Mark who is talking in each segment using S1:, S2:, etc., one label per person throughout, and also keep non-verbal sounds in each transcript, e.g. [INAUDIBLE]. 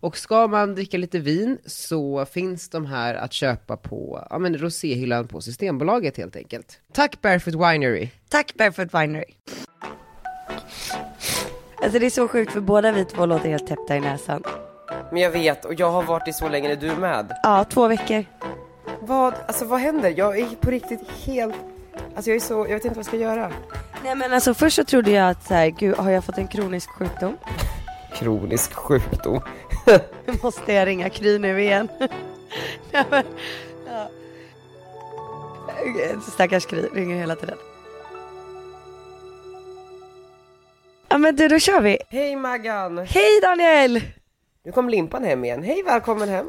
S1: Och ska man dricka lite vin så finns de här att köpa på ja, men roséhyllan på Systembolaget helt enkelt. Tack Barefoot Winery!
S2: Tack Barefoot Winery. Alltså det är så sjukt för båda vi två låter helt täppta i näsan.
S3: Men jag vet och jag har varit det så länge, är du med?
S2: Ja, två veckor.
S3: Vad, alltså vad händer? Jag är på riktigt helt, alltså jag är så, jag vet inte vad jag ska göra.
S2: Nej men alltså först så trodde jag att så här, gud har jag fått en kronisk sjukdom?
S3: Kronisk sjukdom.
S2: Nu måste jag ringa Kry nu [LAUGHS] igen. Nej, men, ja. Stackars Kry, ringer hela tiden. Ja men du, då kör vi.
S3: Hej Maggan!
S2: Hej Daniel!
S3: Nu kom Limpan hem igen. Hej välkommen hem.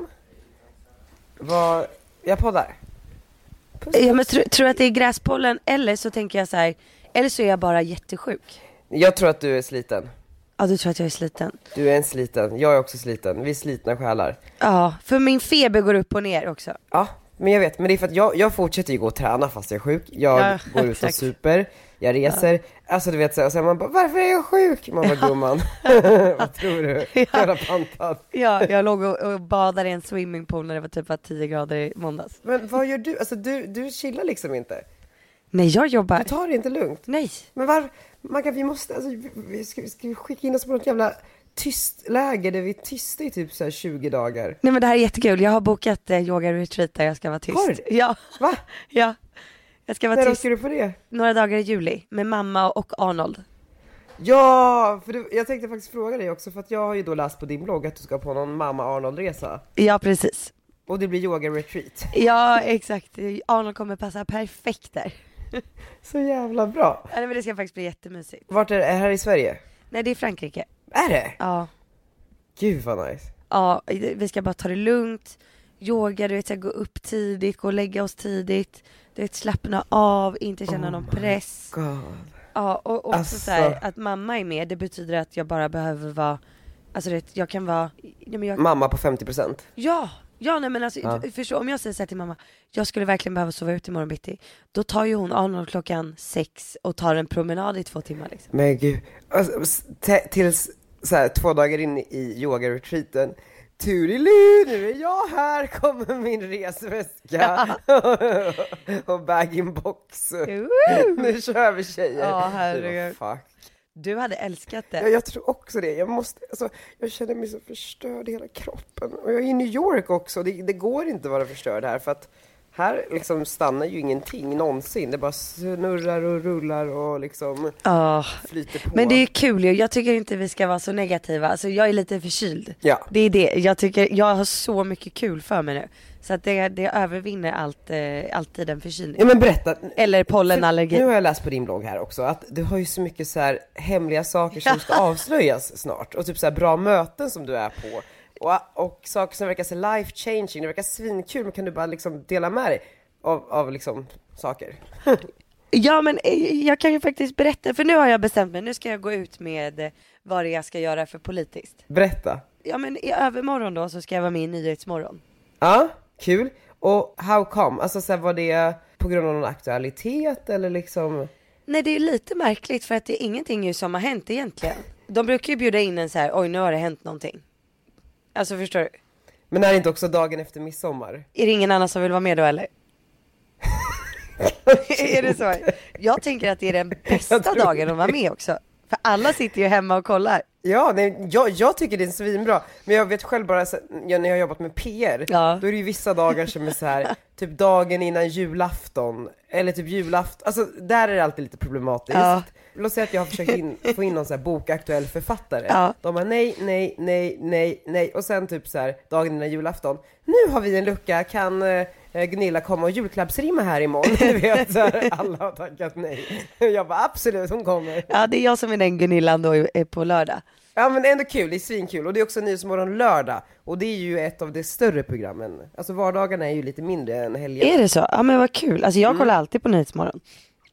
S3: Vad, jag poddar.
S2: Ja, men tro, tror du att det är gräspollen eller så tänker jag så här, eller så är jag bara jättesjuk.
S3: Jag tror att du är sliten.
S2: Ja du tror att jag är sliten.
S3: Du är en sliten, jag är också sliten. Vi är slitna själar.
S2: Ja, för min feber går upp och ner också.
S3: Ja, men jag vet. Men det är för att jag, jag fortsätter ju gå och träna fast jag är sjuk. Jag
S2: Ja,
S3: går ut och
S2: exakt.
S3: super, jag reser. Alltså du vet så här, och sen man bara, varför är jag sjuk? Man bara, gumman, [LAUGHS] vad tror du? Jävla pantad.
S2: Ja, jag låg och, och badade i en swimmingpool när det var typ bara 10 grader i måndags.
S3: Men vad gör du? Alltså du, du chillar liksom inte.
S2: Nej, jag jobbar.
S3: Du tar det inte lugnt.
S2: Nej.
S3: Men var, man kan, vi måste, alltså, vi- vi, ska, ska vi skicka in oss på något jävla tyst läger där vi är tysta i typ så här 20 dagar?
S2: Nej men det här är jättekul, jag har bokat eh, yoga-retreat där jag ska vara tyst.
S3: Har du?
S2: Ja. [LAUGHS]
S3: Va?
S2: Ja. Jag ska vara
S3: När
S2: tyst
S3: åker du på det?
S2: några dagar i juli med mamma och Arnold.
S3: Ja, för du, jag tänkte faktiskt fråga dig också för att jag har ju då läst på din blogg att du ska på någon mamma Arnold-resa.
S2: Ja precis.
S3: Och det blir yoga-retreat.
S2: Ja exakt, Arnold kommer passa perfekt där.
S3: Så jävla bra.
S2: Ja, Nej men det ska faktiskt bli jättemysigt.
S3: Vart är det? Är det här i Sverige?
S2: Nej det är Frankrike.
S3: Är det?
S2: Ja.
S3: Gud vad nice.
S2: Ja, vi ska bara ta det lugnt. Yoga, du vet så här, gå upp tidigt, gå och lägga oss tidigt. Du vet slappna av, inte känna någon press.
S3: God.
S2: Ja, och också
S3: Alltså.
S2: så här, att mamma är med, det betyder att jag bara behöver vara, alltså du vet, jag kan vara, ja men jag
S3: Mamma på 50%.
S2: Ja, ja nej men alltså,
S3: Mm. Ja.
S2: du förstår, om jag säger så här till mamma, jag skulle verkligen behöva sova ut imorgon bitti, då tar ju hon Arnold klockan sex och tar en promenad i två timmar liksom.
S3: Men gud. Alltså, s- te- tills så här, två dagar in i yoga-retreaten. Turilu, nu är jag här, kommer min resväska [LAUGHS] och bag-in-box. Nu kör vi tjejer.
S2: Ja, herregud.
S3: Det var Fuck.
S2: Du hade älskat
S3: Ja,
S2: det.
S3: jag tror också det. Jag, måste, alltså, jag känner mig så förstörd i hela kroppen. Och jag är i New York också. Det, det går inte att vara förstörd här för att här liksom stannar ju ingenting någonsin. Det bara snurrar och rullar och liksom
S2: Ja.
S3: flyter på.
S2: Men det är kul ju, jag tycker inte vi ska vara så negativa, alltså jag är lite förkyld.
S3: Ja.
S2: Det är det, jag tycker, jag har så mycket kul för mig nu. Så att det, det övervinner allt, eh, alltid en förkylning.
S3: Ja men berätta.
S2: Eller
S3: Nu
S2: pollenallergi.
S3: har jag läst på din blogg här också att du har ju så mycket så här hemliga saker som ska avslöjas snart och typ så här bra möten som du är på och, och saker som verkar så life changing, det verkar svinkul men kan du bara liksom dela med dig av, av liksom saker? [LAUGHS]
S2: Ja men eh, jag kan ju faktiskt berätta, för nu har jag bestämt mig, nu ska jag gå ut med eh, vad det är jag ska göra för politiskt.
S3: Berätta.
S2: ja men i övermorgon då så ska jag vara med i Nyhetsmorgon.
S3: Ja, kul. Och how come? Alltså så här, var det på grund av någon aktualitet eller liksom?
S2: Nej det är lite märkligt för att det är ingenting ju som har hänt egentligen. De brukar ju bjuda in en så här, oj nu har det hänt någonting. Alltså förstår du?
S3: Men är det inte också dagen efter midsommar?
S2: Är det ingen annan som vill vara med då eller? [LAUGHS] är det så? Jag tänker att det är den bästa
S3: [LAUGHS] Jag tror
S2: dagen att vara med också. För alla sitter ju hemma och kollar.
S3: Ja, nej, jag, jag tycker det är svinbra. Men jag vet själv bara så, ja, när jag har jobbat med PR,
S2: Ja.
S3: då är det ju vissa dagar som är
S2: [LAUGHS]
S3: så här, typ dagen innan julafton, eller typ julafton, alltså där är det alltid lite problematiskt.
S2: Ja.
S3: låt säga att jag har försökt in, få in någon så här bokaktuell författare.
S2: Ja.
S3: De bara nej, nej, nej, nej, nej. Och sen typ så här dagen innan julafton. Nu har vi en lucka, kan eh, Gunilla komma och julklappsrimma här imorgon? [LAUGHS] Du vet, så här, alla har tackat nej. Jag bara absolut, hon kommer.
S2: Ja, det är jag som är den Gunillan då eh, på lördag.
S3: Ja men ändå kul, det är svinkul. Och det är också Nyhetsmorgon lördag. Och det är ju ett av de större programmen. Alltså vardagarna är ju lite mindre än helgen.
S2: Är det så? Ja men vad kul. Alltså
S3: Mm.
S2: jag kollar alltid på Nyhetsmorgon.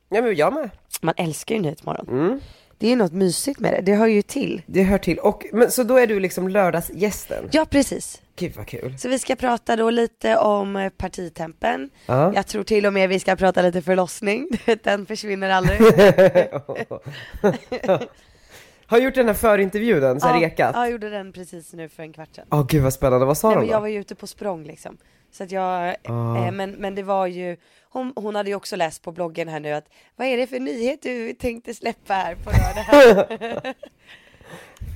S3: Ja men jag med.
S2: Man älskar ju Nyhetsmorgon.
S3: Mm.
S2: Det är ju något mysigt med det. Det hör ju till.
S3: Det hör till. Och, men, så då är du liksom lördagsgästen.
S2: Ja precis.
S3: Gud vad kul.
S2: Så vi ska prata då lite om eh, partitempen.
S3: Ja.
S2: Jag tror till och med vi ska prata lite förlossning. [LAUGHS] Du vet, Den försvinner
S3: [LAUGHS]
S2: aldrig.
S3: Har gjort den här förintervjun, den, så här
S2: ja,
S3: rekat?
S2: jag gjorde den precis nu för en kvart sedan.
S3: Åh gud vad spännande, vad sa
S2: Nej,
S3: de
S2: men
S3: då? Ah.
S2: jag var ju ute på språng liksom. Så att jag, eh, men, men det var ju, hon, hon hade ju också läst på bloggen här nu att vad är det för nyhet du tänkte släppa här på lördag?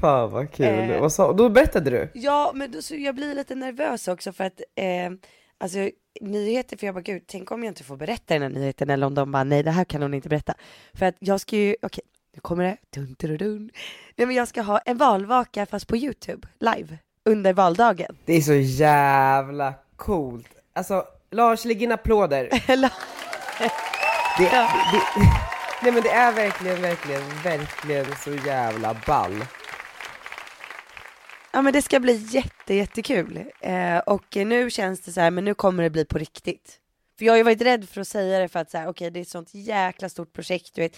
S3: Fan vad kul.
S2: Eh.
S3: Vad sa... Då berättade du?
S2: ja, men då, så jag blir lite nervös också för att, eh, alltså nyheter, för jag bara gud, tänk om jag inte får berätta den här nyheten eller om de bara nej, det här kan hon inte berätta. För att jag ska ju, okej, nu kommer det, dun, dun, dun. Nej men jag ska ha en valvaka fast på YouTube, live, under valdagen.
S3: Det är så jävla coolt. Alltså, Lars, lägg in applåder.
S2: [LAUGHS] Eller-
S3: Det, det, [LAUGHS] nej men det är verkligen, verkligen, verkligen så jävla ball.
S2: Ja men det ska bli jätte, jättekul. Eh, och eh, nu känns det så här, men nu kommer det bli på riktigt. För jag har ju varit rädd för att säga det för att så här, okej det är ett sånt jäkla stort projekt, du vet.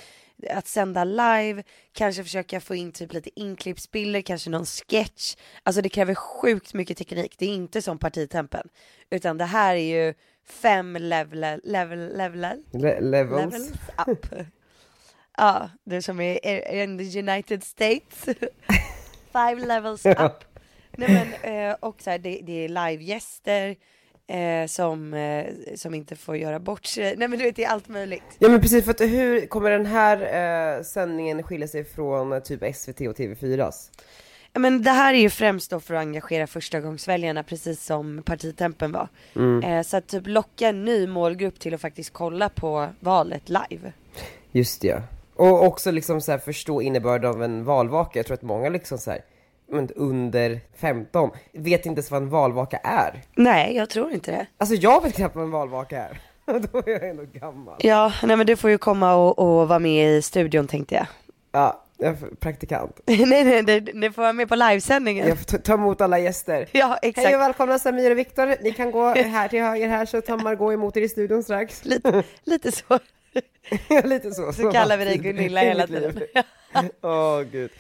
S2: Att sända live, kanske försöka få in typ lite inklippsbilder, kanske någon sketch. Alltså det kräver sjukt mycket teknik, det är inte som partitempen. Utan det här är ju fem level, level, level,
S3: Le- levels. [LAUGHS]
S2: levels up. [LAUGHS] Ja, det som är är in the United States. [LAUGHS] Five levels up. Nej, men, eh, och så här, det, det är livegäster eh, som, eh, som inte får göra bort sig. Nej men du vet, det är allt möjligt.
S3: Ja men precis, för att hur kommer den här eh, sändningen skilja sig från eh, typ SVT och TV4s?
S2: Ja, Men det här är ju främst då för att engagera förstagångsväljarna precis som partitempen var. Eh, så att typ locka en ny målgrupp till att faktiskt kolla på valet live.
S3: Just det, ja. Och också liksom så här förstå innebörden av en valvaka. Jag tror att många liksom så här, men under 15 vet inte ens vad en valvaka är.
S2: Nej, jag tror inte det.
S3: Alltså jag vet knappt vad en valvaka är. [LAUGHS] Då är jag ändå gammal.
S2: Ja, nej men du får ju komma och, och vara med i studion tänkte jag. [LAUGHS]
S3: Ja, jag är praktikant.
S2: nej, nej, nej, ni får vara med på livesändningen.
S3: Jag får ta- ta emot alla gäster.
S2: [LAUGHS] Ja,
S3: Hej och
S2: exakt.
S3: välkomna Samir och Viktor. Ni kan gå här till höger här så tar Margot emot er i studion strax.
S2: Lite, lite så.
S3: [LAUGHS] Lite så.
S2: Så kallar vi dig Gunilla
S3: I
S2: hela
S3: mitt liv. [LAUGHS]
S2: tiden.
S3: Åh gud.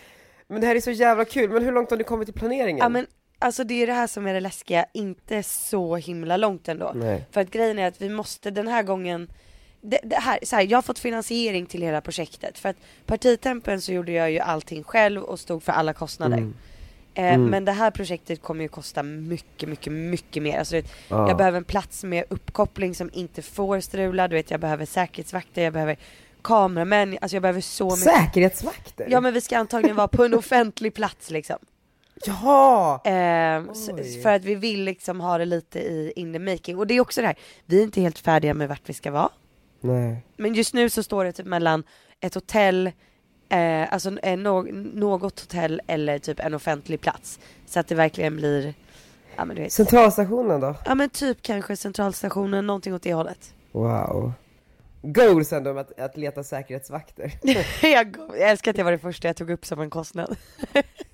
S3: Men det här är så jävla kul. Men hur långt har ni kommit i planeringen?
S2: Ja, men alltså det är det här som är det läskiga, inte så himla långt ändå.
S3: Nej.
S2: För att grejen är att vi måste den här gången, det, det här, så här, jag har fått finansiering till hela projektet. För att partitempen så gjorde jag ju allting själv och stod för alla kostnader. Eh, Men det här projektet kommer ju kosta mycket, mycket, mycket mer. Alltså, du vet, Jag behöver en plats med uppkoppling som inte får strula, du vet jag behöver säkerhetsvakter, jag behöver kameramän, alltså jag behöver så mycket.
S3: Säkerhetsvakter?
S2: Ja men vi ska antagligen vara på en offentlig plats liksom.
S3: Jaha!
S2: Ehm, s- för att vi vill liksom ha det lite i in the making. Och det är också det här, vi är inte helt färdiga med vart vi ska vara.
S3: Nej.
S2: Men just nu så står det typ mellan ett hotell, eh, alltså eh, nå- något hotell eller typ en offentlig plats. Så att det verkligen blir, ja men du vet.
S3: Centralstationen då?
S2: Ja men typ kanske centralstationen, någonting åt det hållet. [LAUGHS]
S3: Wow. Goals ändå med att, att
S2: [LAUGHS]
S3: leta säkerhetsvakter.
S2: jag, jag älskar att det var det första jag tog upp som en kostnad.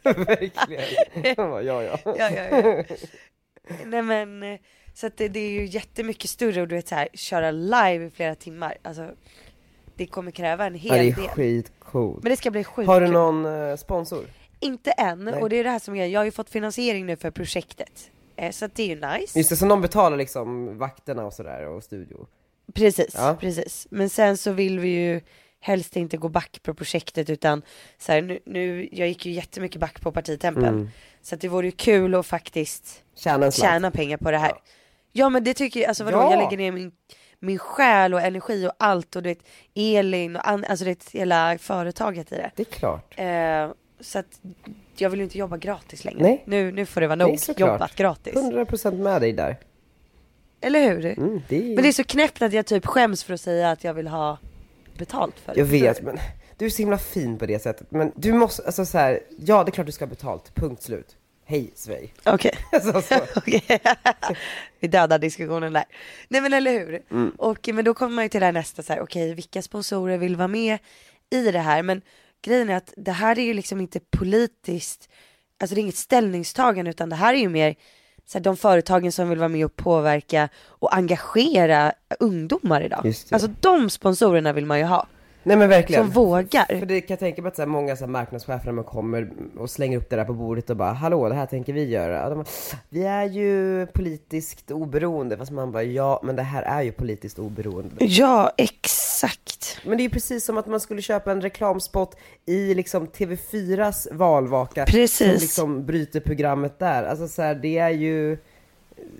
S3: Verkligen. De bara, ja, ja.
S2: ja, ja, ja. [LAUGHS] Nej men, eh, så att det, det är ju jättemycket större och du vet så här, köra live i flera timmar, alltså det kommer kräva en
S3: ja det
S2: hel
S3: är
S2: del.
S3: skitcoolt.
S2: Men det ska bli sjukt
S3: Har du
S2: kul.
S3: någon eh, sponsor?
S2: Inte än, och det är det här som är jag har ju fått finansiering nu för projektet. Eh, Så att det är ju nice.
S3: Just det, så någon betalar liksom vakterna och sådär och studio.
S2: Precis,
S3: Ja.
S2: precis. Men sen så vill vi ju helst inte gå back på projektet utan så här, nu, nu, jag gick ju jättemycket back på partitempen.
S3: Mm.
S2: Så att det vore ju kul att faktiskt
S3: Tjäna en slant.
S2: tjäna pengar på det här. Ja, men det tycker jag, alltså vadå,
S3: Ja.
S2: jag lägger ner min, min själ och energi och allt och du vet Elin och an, alltså det hela företaget i det.
S3: Det är klart.
S2: Eh, så att jag vill ju inte jobba gratis längre.
S3: Nej.
S2: Nu, nu får det vara
S3: Nej,
S2: nog
S3: såklart.
S2: jobbat gratis.
S3: 100% med dig där.
S2: Eller hur?
S3: Mm, det är...
S2: Men det är så knäppt att jag typ skäms för att säga att jag vill ha betalt för det.
S3: Jag
S2: Förstår
S3: vet
S2: du?
S3: men Du är så himla fin på det sättet. Men du måste, alltså så här, ja det är klart du ska ha betalt. Punkt slut. Hej Svej.
S2: Okej.
S3: [LAUGHS] Alltså, så.
S2: Okej. [LAUGHS] Vi dödar diskussionen där. Nej men eller hur. Och, men då kommer man ju till det här nästa så här, okej vilka sponsorer vill vara med i det här? Men grejen är att det här är ju liksom inte politiskt, alltså det är inget ställningstagande utan det här är ju mer så här, de företagen som vill vara med och påverka och engagera ungdomar idag.
S3: Just det.
S2: Alltså de sponsorerna vill man ju ha.
S3: Nej men verkligen.
S2: Som vågar.
S3: För det kan jag tänka mig att så här, många så här, marknadschefer när man kommer och slänger upp det där på bordet och bara hallå det här tänker vi göra. Och de bara, vi är ju politiskt oberoende. Fast man bara ja men det här är ju politiskt oberoende.
S2: Ja, exakt.
S3: Men det är ju precis som att man skulle köpa en reklamspot i liksom TV4s valvaka.
S2: Precis.
S3: Som liksom bryter programmet där. Alltså så här, det är ju,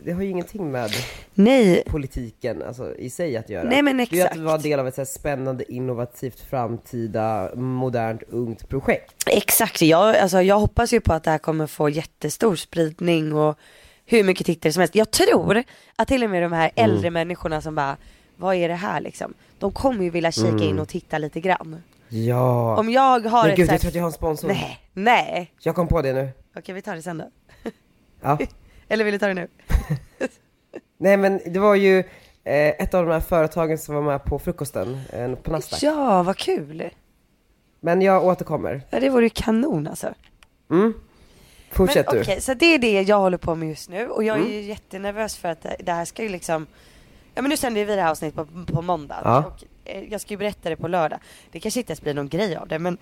S3: det har ju ingenting med
S2: Nej,
S3: politiken alltså, i sig att göra.
S2: Nej, men
S3: Det är ju
S2: exakt.
S3: att vara del av ett så här spännande, innovativt, framtida, modernt, ungt projekt.
S2: Exakt, jag, alltså, jag hoppas ju på att det här kommer få jättestor spridning och hur mycket tittare som helst. Jag tror att till och med de här
S3: Mm.
S2: äldre människorna som bara, vad är det här liksom? De kommer ju vilja kika in och titta lite grann.
S3: Mm. Ja.
S2: Om jag har
S3: Men
S2: ett
S3: gud,
S2: så här-
S3: jag tror att jag har en sponsor.
S2: Nej, nej.
S3: Jag kom på det nu.
S2: Okej vi tar det sen då.
S3: Ja.
S2: Eller vill du ta det nu?
S3: Nej men det var ju eh, ett av de här företagen som var med på frukosten eh, på Nasdaq.
S2: Ja, vad kul.
S3: Men jag återkommer.
S2: Ja, det vore ju kanon alltså. Men
S3: Fortsätt
S2: okej,
S3: du. Mm.
S2: så det är det jag håller på med just nu och jag är ju jättenervös för att det- det här ska ju liksom Ja men nu sänder ju vi det här avsnittet på, på måndag
S3: Ja.
S2: och eh, jag ska ju berätta det på lördag. Det kanske inte ens blir någon grej av det men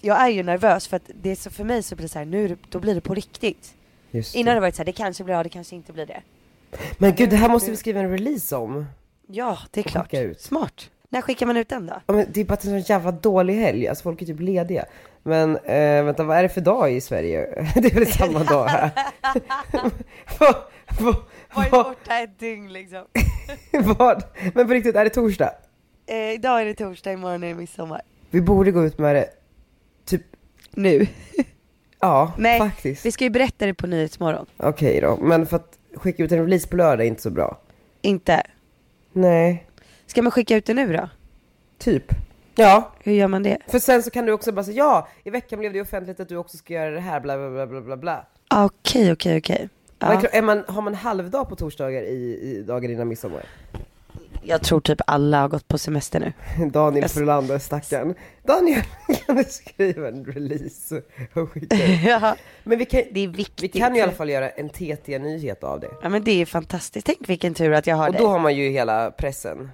S2: jag är ju nervös för att det är så, för mig så blir det så här, nu är det- då blir det på riktigt.
S3: Just det.
S2: Innan har det varit så här, det kanske blir av, det kanske inte blir det.
S3: Men gud, det här måste vi skriva en release om.
S2: Ja, det är klart.
S3: skicka ut.
S2: Smart. När skickar man ut den
S3: [LAUGHS]
S2: då?
S3: Ja, men Det är bara att det är en sån jävla dålig helg, alltså folk är typ lediga. Men eh, vänta, vad är det för dag i Sverige? [LAUGHS] Det är väl samma dag här?
S2: [LAUGHS]
S3: vad, vad,
S2: Varit
S3: vad,
S2: borta ett dygn liksom.
S3: vad? Men på riktigt, är det torsdag?
S2: Eh, idag är det torsdag, imorgon är det midsommar.
S3: Vi borde gå ut med det, typ,
S2: Nu.
S3: ja
S2: Nej,
S3: faktiskt.
S2: vi ska ju berätta det på Nyhetsmorgon.
S3: Okej då, men för att skicka ut en release på lördag är inte så bra.
S2: Inte.
S3: Nej,
S2: Ska man skicka ut det nu då?
S3: typ. Ja,
S2: Hur gör man det?
S3: för sen så kan du också bara säga ja, i veckan blev det offentligt att du också ska göra det här, bla bla bla bla bla bla.
S2: Ah, Okej, okej, okej. Ah. Ja.
S3: Men Är man, har man halvdag på torsdagar i, i dagen innan midsommar? [LAUGHS]
S2: Jag tror typ alla har gått på semester nu.
S3: Daniel
S2: Jag s-
S3: Frölander, stackarn. Daniel, kan du skriva en release [LAUGHS] och skicka ut?
S2: [LAUGHS] ja,
S3: Men vi kan,
S2: det är viktigt.
S3: vi kan i alla fall göra en TT-nyhet av det.
S2: Ja men det är fantastiskt. Tänk vilken tur att jag har
S3: Och
S2: dig.
S3: då har man ju hela pressen.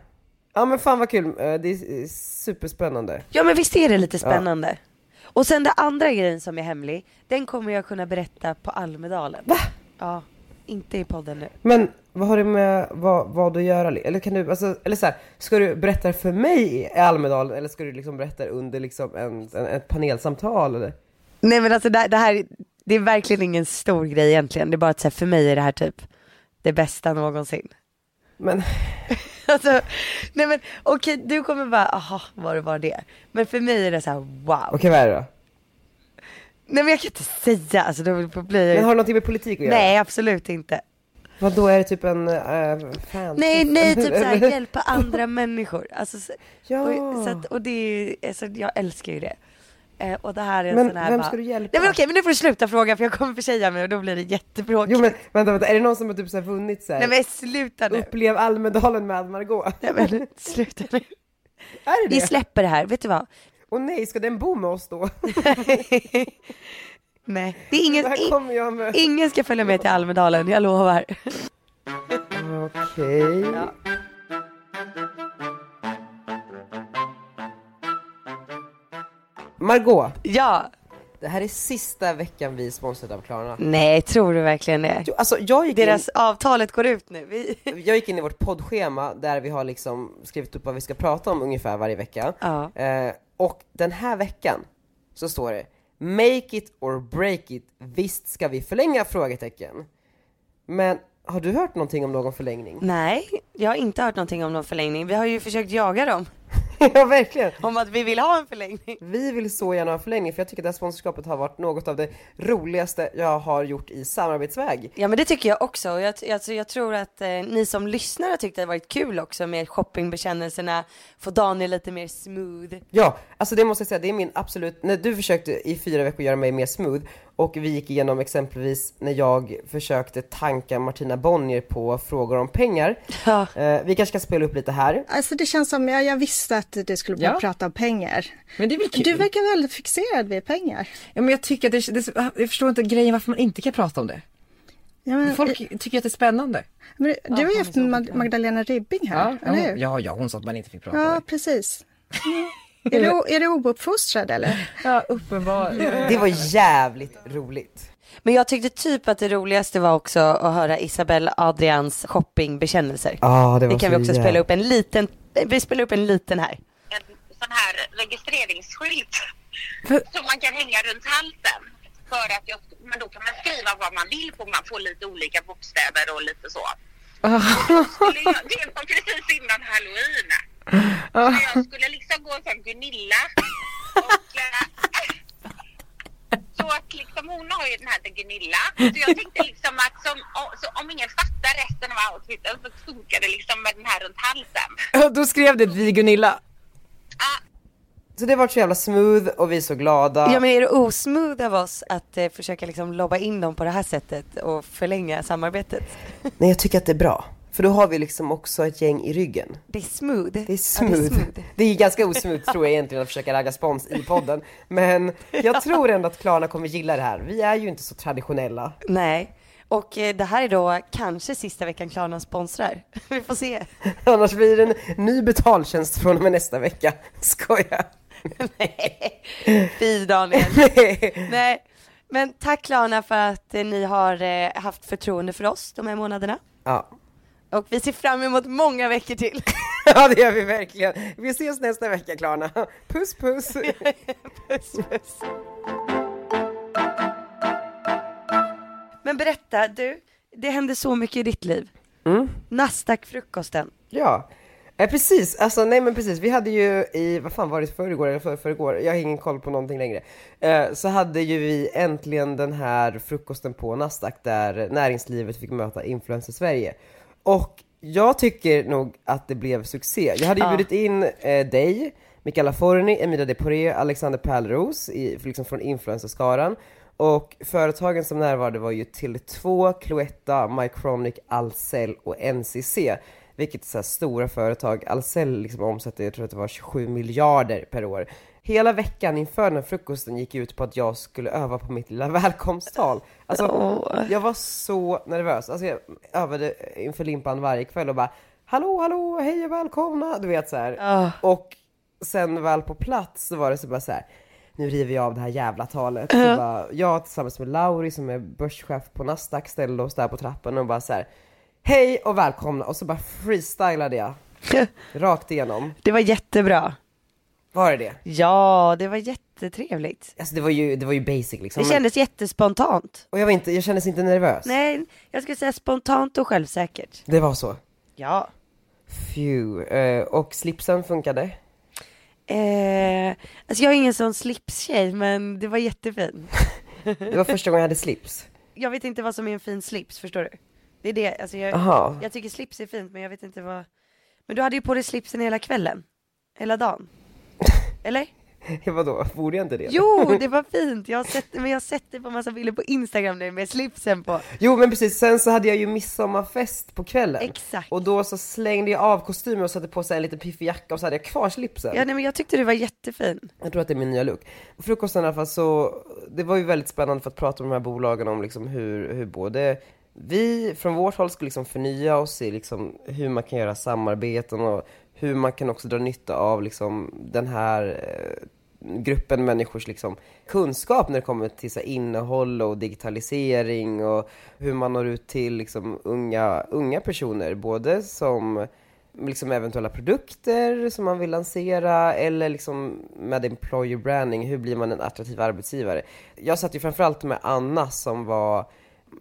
S3: Ja men fan vad kul, Eh, det är eh, superspännande.
S2: Ja men visst är det lite spännande? Och sen den andra grejen som är hemlig, den kommer jag kunna berätta på Almedalen. Va? Ja, inte i podden nu.
S3: Men vad har det med vad, vad att göra? Eller kan du, alltså, eller så här, ska du berätta för mig i Almedalen eller ska du liksom berätta under liksom en, en, ett panelsamtal eller?
S2: Nej men alltså det, det här, det är verkligen ingen stor grej egentligen. Det är bara att så här, för mig är det här typ det bästa någonsin.
S3: Men [LAUGHS]
S2: [LAUGHS] Alltså, nej men okej du kommer bara, aha var det var det. Men för mig är det så här wow.
S3: okej vad är det då?
S2: Nej men jag kan inte säga, alltså då blir
S3: Men
S2: jag
S3: har det någonting med politik att göra?
S2: Nej absolut inte.
S3: Vad då är det typ en äh, fan?
S2: Nej
S3: [LAUGHS]
S2: nej typ såhär hjälpa andra människor. Alltså, så-
S3: Ja.
S2: och, så att, och det är alltså, jag älskar ju det. Eh, och det här är en
S3: Men
S2: sån här
S3: vem
S2: bara...
S3: ska du hjälpa?
S2: Nej men okej men nu får du sluta fråga för jag kommer försäga mig och då blir det jättebråkigt.
S3: Jo men vänta, vänta, är det någon som har typ så här vunnit så här,
S2: Nej men sluta nu.
S3: upplev Almedalen med Margot?
S2: Nej men sluta nu.
S3: [LAUGHS] Är [LAUGHS] det
S2: Vi
S3: det?
S2: släpper det här, vet du
S3: [LAUGHS]
S2: vad?
S3: Och nej, ska den bo med
S2: [LAUGHS]
S3: oss då?
S2: Nej, det är ingen,
S3: Där kommer jag med.
S2: ingen ska följa med till Almedalen, jag lovar.
S3: Okej. Margot,
S2: Ja.
S3: det här är sista veckan vi är sponsrade av Klarna.
S2: Nej, tror du verkligen det?
S3: Jo, Alltså jag gick, in,
S2: Deras avtalet går ut nu. Vi...
S3: jag gick in i vårt poddschema där vi har liksom skrivit upp vad vi ska prata om ungefär varje vecka.
S2: Ja.
S3: Eh, och den här veckan så står det Make it or break it, visst ska vi förlänga? frågetecken. Men har du hört någonting om någon förlängning? [LAUGHS]
S2: Nej, jag har inte hört någonting om någon förlängning. Vi har ju försökt jaga dem.
S3: ja, verkligen.
S2: Om att vi vill ha en förlängning.
S3: Vi vill så gärna ha en förlängning för jag tycker det här sponsorskapet har varit något av det roligaste jag har gjort i samarbetsväg.
S2: Ja men det tycker jag också. Och Jag, t- alltså, jag tror att eh, ni som lyssnar har tyckt det har varit kul också med shoppingbekännelserna. Få Daniel lite mer smooth.
S3: Ja, alltså det måste jag säga, det är min absolut, när du försökte i fyra veckor göra mig mer smooth och vi gick igenom exempelvis när jag försökte tanka Martina Bonnier på frågor om pengar.
S2: Ja.
S3: Eh, vi kanske ska spela upp lite här.
S4: Alltså det känns som, jag, jag visste att det skulle bli
S1: Ja.
S4: prata om pengar.
S1: Men det är väl kul?
S4: Du verkar väldigt fixerad vid pengar.
S1: Ja, men jag tycker att det, det, jag förstår inte grejen varför man inte kan prata om det.
S4: Ja, men, eh,
S1: Folk tycker att det är spännande.
S4: men, du har ju haft Mag- Magdalena Ribbing här,
S1: ja,
S4: eller
S1: hon,
S4: hur?
S1: ja, ja, hon sa att man inte fick prata om
S4: Ja,
S1: det. [LAUGHS]
S4: precis. Mm. är, du, o- är du ouppfostrad eller?
S1: Ja, uppenbarligen.
S3: Det var jävligt roligt.
S2: Men jag tyckte typ att det roligaste var också att höra Isabelle Adrians shoppingbekännelser.
S3: Ja, det var
S2: Ah, det kan
S3: så
S2: vi också
S3: jävla-
S2: spela upp en liten. Vi spelar upp en liten här.
S5: en sån här registreringsskylt
S1: För-
S5: som man kan hänga runt halsen. För att jag, men då kan man skriva vad man vill på, man får lite olika bokstäver och lite så. Skulle jag, det var precis innan halloween. Så jag skulle liksom gå som Gunilla. Och, eh, så att liksom hon har ju den här till Gunilla. Så jag tänkte liksom att som, o- så om ingen fattar resten av outfiten så funkar det liksom med den här runt halsen.
S1: Då skrev det vi Gunilla.
S3: Ah. Så det var så jävla smooth och vi är så glada.
S2: Ja men är det osmooth av oss att eh, försöka liksom lobba in dem på det här sättet och förlänga samarbetet?
S3: Nej jag tycker att det är bra. För då har vi liksom också ett gäng i ryggen.
S2: Det är smooth.
S3: Det är smooth.
S2: Ja,
S3: det, är ganska osmooth tror jag egentligen att försöka ragga spons i podden. Men jag tror ändå att Klarna kommer gilla det här. Vi är ju inte så traditionella.
S2: Nej. Och eh, det här är då kanske sista veckan Klarna sponsrar. [LAUGHS] Vi får
S3: [LAUGHS]
S2: se.
S3: Annars blir det en ny betaltjänst från och med nästa vecka. Skoja.
S2: Fy Daniel. Nej. Men tack Klarna för att eh, ni har eh, haft förtroende för oss de här månaderna.
S3: [LAUGHS] Ja.
S2: Och vi ser fram emot många veckor till. [LAUGHS]
S3: ja, det gör vi verkligen. Vi ses nästa vecka Klarna. Puss puss.
S2: Men berätta, du, det hände så mycket i ditt liv.
S3: Mm.
S2: Nasdaq-frukosten.
S3: Ja, eh, precis. Alltså, nej men precis. Vi hade ju i, vad fan var det, förrgår eller för, förrgår? Jag har ingen koll på någonting längre. Eh, så hade ju vi äntligen den här frukosten på Nasdaq där näringslivet fick möta influencer Sverige. Och jag tycker nog att det blev succé. Jag hade ju bjudit in eh, dig, Mikaela Forni, Emilia Deporé, Alexander Pärleros i, liksom från influencerskaran. Och företagen som närvarade var ju Tele2, Cloetta, Mycronic, Ahlsell och NCC. Vilket är så här stora företag. Ahlsell liksom omsätter, jag tror att det var 27 miljarder per år. Hela veckan inför den här frukosten gick ut på att jag skulle öva på mitt lilla [LAUGHS] välkomsttal. Alltså, jag var så nervös. Alltså, jag övade inför limpan varje kväll och bara Hallå, hallå, hej och välkomna! Du vet så här. Och sen väl på plats så var det så bara så här nu river jag av det här jävla talet. Så bara, jag tillsammans med Lauri som är börschef på Nasdaq ställde oss där på trappan och bara så här. Hej och välkomna och så bara freestylade jag. Rakt igenom.
S2: Det var jättebra.
S3: Var det det?
S2: Ja, det var jättetrevligt.
S3: Alltså det var ju, det var ju basic liksom.
S2: Det kändes jättespontant.
S3: Och jag, var inte, jag kändes inte nervös.
S2: Nej, jag skulle säga spontant och självsäkert.
S3: Det var så.
S2: Ja.
S3: Phew. Eh, och slipsen funkade.
S2: Eh, alltså jag är ingen sån slipstjej, men det var jättefin.
S3: Det var första gången jag hade slips. [LAUGHS]
S2: Jag vet inte vad som är en fin slips, förstår du? Det är det, alltså jag,
S3: Jaha.
S2: jag tycker slips är fint, men jag vet inte vad... Men du hade ju på dig slipsen hela kvällen. Hela dagen. Eller?
S3: Vadå, borde jag inte det?
S2: Jo, det var fint. Jag har sett, men jag har sett det på massa bilder på Instagram nu med slipsen på.
S3: Jo men precis, sen så hade jag ju midsommarfest på kvällen.
S2: Exakt.
S3: Och då så slängde jag av kostymen och satte på sig en liten piffig jacka och så hade jag kvar slipsen.
S2: Ja, nej, men jag tyckte du var jättefin.
S3: Jag tror att det är min nya look. Frukosten i alla fall så, det var ju väldigt spännande för att prata med de här bolagen om liksom hur, hur både vi från vårt håll skulle liksom förnya oss i liksom hur man kan göra samarbeten och hur man kan också dra nytta av liksom den här eh, gruppen människors liksom kunskap när det kommer till så här, innehåll och digitalisering och hur man når ut till liksom unga, unga personer, både som liksom eventuella produkter som man vill lansera eller liksom med employer branding, hur blir man en attraktiv arbetsgivare? Jag satt ju framförallt med Anna som var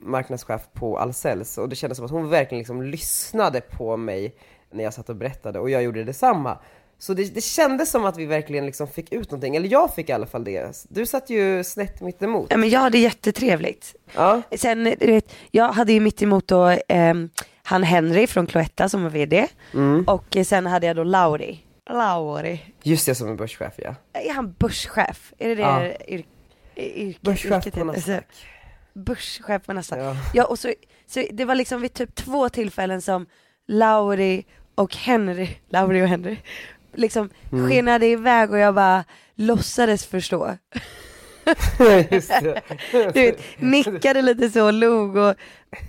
S3: marknadschef på Ahlsells och det kändes som att hon verkligen liksom lyssnade på mig när jag satt och berättade och jag gjorde detsamma. Så det, det kändes som att vi verkligen liksom fick ut någonting, eller jag fick i alla fall det. Du satt ju snett mitt emot.
S2: Ja, men jag hade jättetrevligt.
S3: Ja.
S2: Sen, du vet, jag hade ju mitt emot då ehm, han Henry från Cloetta som var vd.
S3: Mm.
S2: Och eh, sen hade jag då Lauri. Lauri.
S3: Just det, som en börschef ja.
S2: Är han börschef? Är det det
S3: Ja.
S2: yr- y- yrket?
S3: Börschef
S2: yrket
S3: på
S2: heter?
S3: Nasdaq.
S2: Börschef på Nasdaq.
S3: Ja.
S2: Ja. och så, så det var liksom vid typ två tillfällen som Lauri och Henry, Lauri och Henry, liksom
S3: Mm.
S2: skenade iväg och jag bara låtsades förstå.
S3: [LAUGHS] Just det.
S2: Du [LAUGHS] vet, nickade lite så och log och,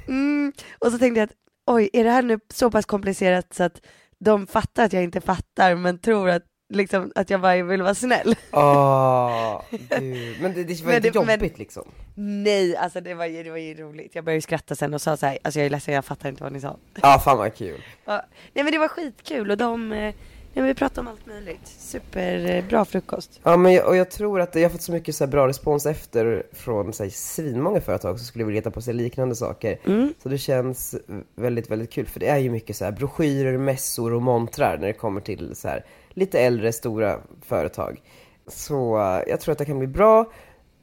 S2: mm, och så tänkte jag att oj, är det här nu så pass komplicerat så att de fattar att jag inte fattar men tror att, liksom, att jag bara vill vara snäll. [LAUGHS]
S3: Åh, Ah, gud. Men det, det var
S2: Men
S3: inte
S2: det- men-
S3: jobbigt liksom.
S2: Nej, alltså det var, ju- det var ju roligt. Jag började ju skratta sen och sa så här, alltså jag är ledsen, jag fattar inte vad ni sa.
S3: Ja, fan vad kul.
S2: Ja, nej men det var skitkul och de, eh, nej, vi pratade om allt möjligt. Superbra frukost.
S3: Ja, men jag, och jag tror att jag har fått så mycket så här bra respons efter från så här, svinmånga företag som skulle vilja ta på sig liknande saker.
S2: Mm.
S3: Så det känns väldigt, väldigt kul. För det är ju mycket så här broschyrer, mässor och montrar när det kommer till så här lite äldre, stora företag. Så eh, jag tror att det kan bli bra.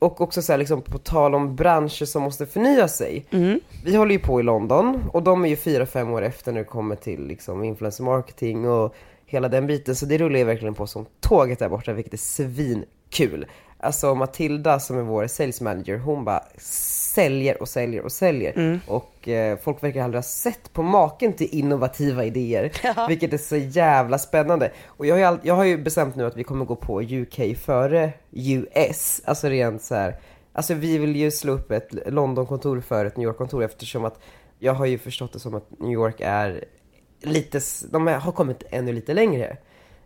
S3: Och också så här, liksom, på tal om branscher som måste förnya sig. Vi håller ju på i London och de är ju fyra, fem år efter när det kommer till liksom, influencer marketing och hela den biten. Så det rullar ju verkligen på som tåget där borta, vilket är svinkul. Alltså Matilda som är vår sales manager, hon bara säljer och säljer och säljer. Och eh, folk verkar aldrig ha sett på maken till innovativa idéer. [LAUGHS] Vilket är så jävla spännande. Och jag har, ju all, jag har ju bestämt nu att vi kommer gå på UK före US. Alltså rent så här. Alltså vi vill ju slå upp ett Londonkontor för ett New York-kontor eftersom att jag har ju förstått det som att New York är lite, s- de har kommit ännu lite längre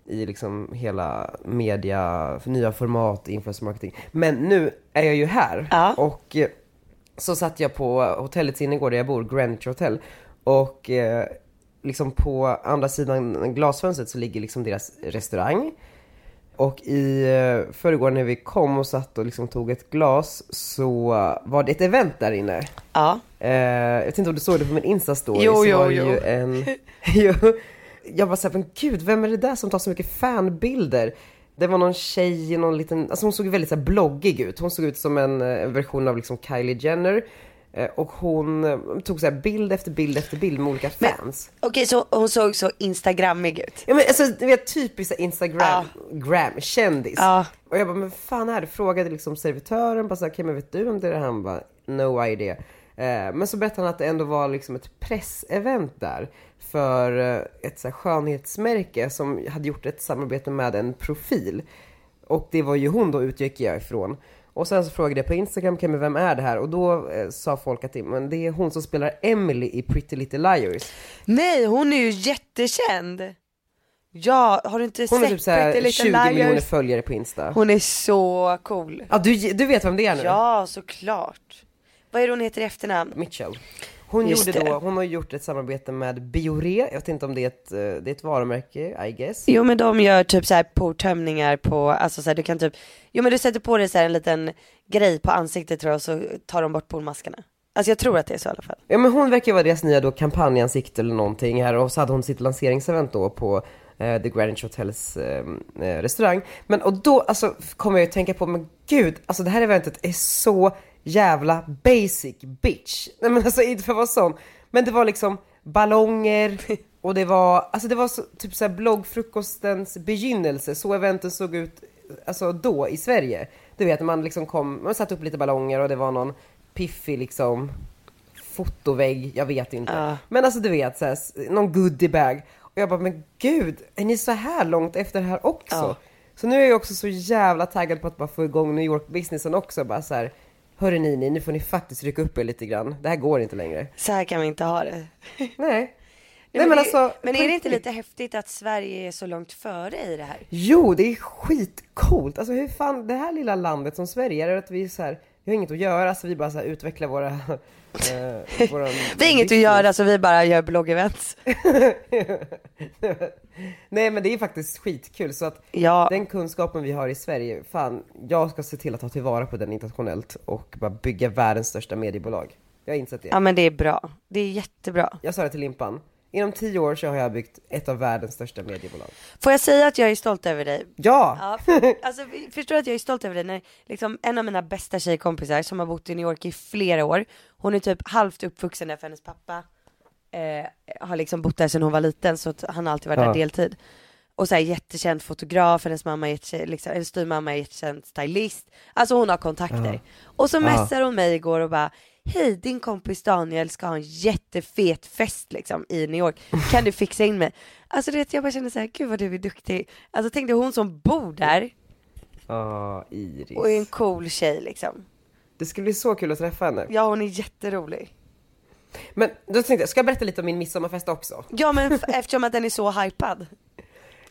S3: i liksom hela media, nya format, influencer marketing. Men nu är jag ju här
S2: Ja.
S3: och eh, så satt jag på hotellets innergård där jag bor, Greenwich Hotel. Och eh, liksom på andra sidan glasfönstret så ligger liksom deras restaurang. Och i eh, förrgår när vi kom och satt och liksom tog ett glas så var det ett event där inne.
S2: Ja.
S3: Eh, jag vet inte om du såg det på min Insta-story.
S2: Jo,
S3: så
S2: jo,
S3: var det
S2: jo.
S3: Ju
S2: [LAUGHS]
S3: en, jo. Jag var såhär, men gud, vem är det där som tar så mycket fanbilder? Det var någon tjej i någon liten, alltså hon såg väldigt så här bloggig ut. Hon såg ut som en, eh, en version av liksom Kylie Jenner. Eh, och hon eh, tog så här bild efter bild efter bild med olika
S2: Men-
S3: fans.
S2: Okej, så hon såg så instagrammig ut.
S3: Ja men alltså du vet typiskt instagram, gram, kändis.
S2: Ja.
S3: Och jag bara, men fan är det? Frågade liksom servitören, bara så här, okej men vet du om det är det här? Han bara, no idea. Eh, men så berättade han att det ändå var liksom ett pressevent där. För eh, ett så här, skönhetsmärke som hade gjort ett samarbete med en profil. Och det var ju hon då utgick jag ifrån. Och sen så frågade jag på Instagram, okay, men vem är det här? Och då eh, sa folk att det, men det är hon som spelar Emily i Pretty Little Liars.
S2: Nej, hon är ju jättekänd. Ja, har du inte
S3: Hon har
S2: sett
S3: typ så här
S2: Pretty
S3: 20
S2: Little
S3: miljoner
S2: Liars?
S3: följare på Insta.
S2: Hon är så cool.
S3: Ja, du, du vet vem det är nu?
S2: Ja, såklart. Vad är det hon heter i efternamn?
S3: Mitchell. Hon,
S2: Just
S3: gjorde
S2: det.
S3: då, hon har gjort ett samarbete med Biore, jag vet inte om det är ett, eh, det är ett varumärke, I guess.
S2: Jo men de gör typ så här portömningar på, alltså så här, du kan typ, jo men du sätter på dig så här en liten grej på ansiktet tror jag och så tar de bort pormaskarna. Alltså jag tror att det är så i alla fall.
S3: Ja men hon verkar vara deras nya då kampanjansikte eller någonting här och så hade hon sitt lanseringsevent då på eh, The Greenwich Hotels eh, eh, restaurang. Men och då alltså kommer jag ju tänka på, men gud, alltså det här eventet är så jävla basic bitch. Nej men alltså inte för att vara sån, men det var liksom ballonger och det var, alltså det var så, typ såhär bloggfrukostens begynnelse, så eventen såg ut alltså då i Sverige. Du vet man liksom kom, man satte upp lite ballonger och det var någon piffig liksom fotovägg, jag vet inte. Men alltså du vet, så här, s- någon goodiebag. Och jag bara, men gud, är ni så här långt efter det här också? Så nu är jag också så jävla taggad på att bara få igång New York-businessen också. Bara så här, hörru Nini, nu får ni faktiskt rycka upp er lite grann. Det här går inte längre.
S2: Så här kan vi inte ha det.
S3: Nej.
S2: Nej,
S3: Nej, men alltså,
S2: är, men
S3: på
S2: är det inte
S3: riktigt.
S2: lite häftigt att Sverige är så långt före i det här?
S3: Jo, det är skitcoolt. Alltså hur fan, det här lilla landet som Sverige, är det att vi är så här, vi har inget att göra så vi bara så här utvecklar våra... [LAUGHS] Eh, våran
S2: [LAUGHS] Vi har inget att göra så vi bara gör bloggevents.
S3: Nej men det är faktiskt skitkul så att
S2: Ja.
S3: den kunskapen vi har i Sverige, fan jag ska se till att ta tillvara på den internationellt och bara bygga världens största mediebolag. Jag har insett det.
S2: Ja men det är bra. Det är jättebra.
S3: Jag sa det till Limpan, Inom tio år så har jag byggt ett av världens största mediebolag.
S2: Får jag säga att jag är stolt över dig?
S3: Ja!
S2: Ja, [LAUGHS] för, alltså, vi- förstår du att jag är stolt över dig när liksom, en av mina bästa tjejkompisar som har bott i New York i flera år, hon är typ halvt uppvuxen där för hennes pappa eh, har liksom bott där sedan hon var liten så att han har alltid varit
S3: Ja.
S2: där deltid. Och så här jättekänd fotograf, hennes mamma är jättekänd, liksom, hennes styvmamma är jättekänd stylist. Alltså hon har kontakter. Och så messar hon mig igår och bara Hej din kompis Daniel ska ha en jättefet fest liksom i New York. Kan du fixa in mig? Alltså du vet jag bara känner så här, gud vad du är duktig. Alltså tänk dig hon som bor där
S3: Ja,
S2: och är en
S3: Iris.
S2: cool tjej liksom.
S3: Det skulle bli så kul att träffa henne.
S2: Ja hon är jätterolig.
S3: Men då tänkte jag, ska jag berätta lite om min midsommarfest också?
S2: Ja men [LAUGHS] f- eftersom att den är så hypad.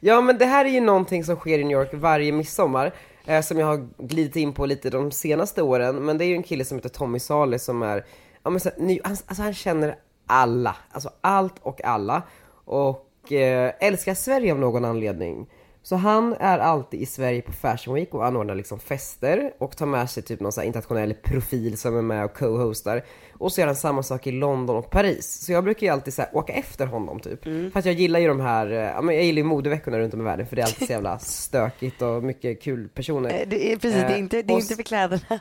S3: Ja men det här är ju någonting som sker i New York varje midsommar. Eh, som jag har glidit in på lite de senaste åren. Men det är ju en kille som heter Tommy Saleh som är, ja men så, här, ny, han, alltså han känner alla. Alltså allt och alla. Och eh, älskar Sverige av någon anledning. Så han är alltid i Sverige på Fashion Week och anordnar liksom fester och tar med sig typ någon så här internationell profil som är med och co-hostar. Och så gör han samma sak i London och Paris. Så jag brukar ju alltid så här åka efter honom typ.
S2: Mm.
S3: För att jag gillar ju de här, eh, ja men jag gillar ju modeveckorna runt om i världen för det är alltid
S2: [LAUGHS]
S3: så jävla stökigt och mycket kul personer.
S2: Eh, Det är, precis, det är,
S3: Eh,
S2: inte, det är
S3: och
S2: inte
S3: s-
S2: för kläderna.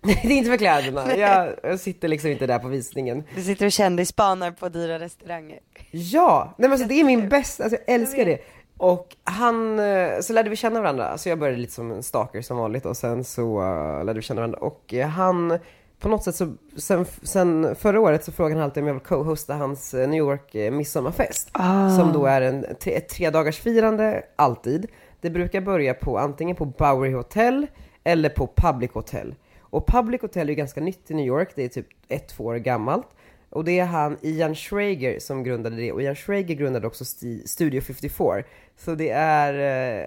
S3: Nej, [LAUGHS] det är inte för kläderna. Jag, jag sitter liksom inte där på visningen.
S2: Du sitter och kändisspanar på dyra restauranger.
S3: Ja! Nej men alltså det är min bästa, alltså jag älskar det. Och han, eh, så lärde vi känna varandra, så jag började lite som en stalker som vanligt och sen så eh, lärde vi känna varandra och eh, han, på något sätt så, sen, sen förra året så frågade han alltid om jag vill co-hosta hans eh, New York eh, midsommarfest. Som då är en tre, ett tredagarsfirande alltid. Det brukar börja på antingen på Bowery Hotel eller på Public Hotel. Och Public Hotel är ju ganska nytt i New York, det är typ ett, två år gammalt. Och det är han Ian Schrager som grundade det och Ian Schrager grundade också Sti- Studio 54. Så det är,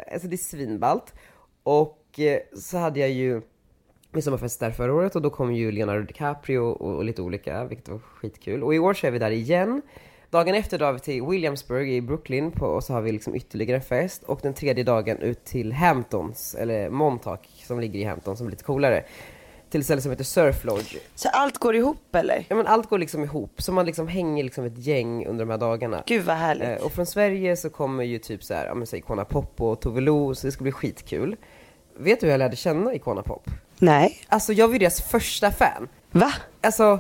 S3: eh, alltså det är svinballt. Och eh, så hade jag ju midsommarfest där förra året och då kom ju Leonardo DiCaprio och, och lite olika, vilket var skitkul. Och i år så är vi där igen. Dagen efter drar vi till Williamsburg i Brooklyn på, och så har vi liksom ytterligare en fest. Och den tredje dagen ut till Hamptons, eller Montauk som ligger i Hampton som är lite coolare. Till ett ställe som heter Surf Lodge.
S2: Så allt går ihop eller?
S3: Ja men allt går liksom ihop, så man liksom hänger liksom ett gäng under de här dagarna.
S2: Gud vad härligt.
S3: Eh, och från Sverige så kommer ju typ så här, ja men säg Icona Pop och Tove Lo, så det ska bli skitkul. Vet du hur jag lärde känna Icona Pop?
S2: Nej.
S3: Alltså jag var ju deras första fan.
S2: Va?
S3: Alltså,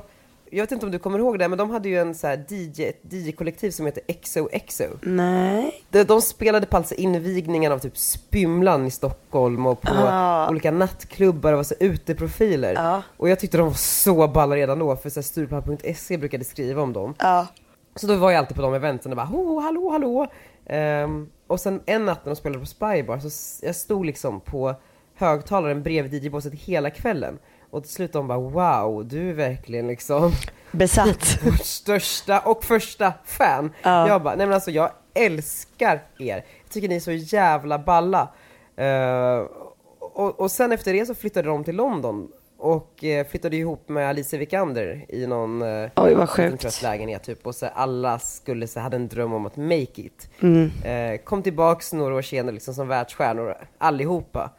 S3: jag vet inte om du kommer ihåg det, men de hade ju en så här DJ, ett DJ-kollektiv som heter XOXO.
S2: Nej.
S3: De, de spelade på alltså invigningen av typ Spymlan i Stockholm och på
S2: Ah.
S3: olika nattklubbar och var så uteprofiler.
S2: Ja.
S3: Och jag tyckte de var så balla redan då, för så här Stureplanet.se E brukade skriva om dem.
S2: Ja.
S3: Så då var jag alltid på de eventen och bara ho, hallå, hallå. Ehm, och sen en natt när de spelade på Spybar så s- jag stod liksom på högtalaren bredvid DJ-båset hela kvällen. Och till slut de bara wow, du är verkligen liksom
S2: Besatt.
S3: vårt största och första fan. Jag bara, nej men alltså jag älskar er. Jag tycker ni är så jävla balla. Eh, och, och sen efter det så flyttade de till London och eh, flyttade ihop med Alice Vikander i någon eh,
S2: Oj, vad
S3: liten
S2: sjukt.
S3: trött lägenhet typ. Och så alla skulle, så hade en dröm om att make it.
S2: Mm.
S3: Eh, kom tillbaks några år senare liksom som världsstjärnor, allihopa.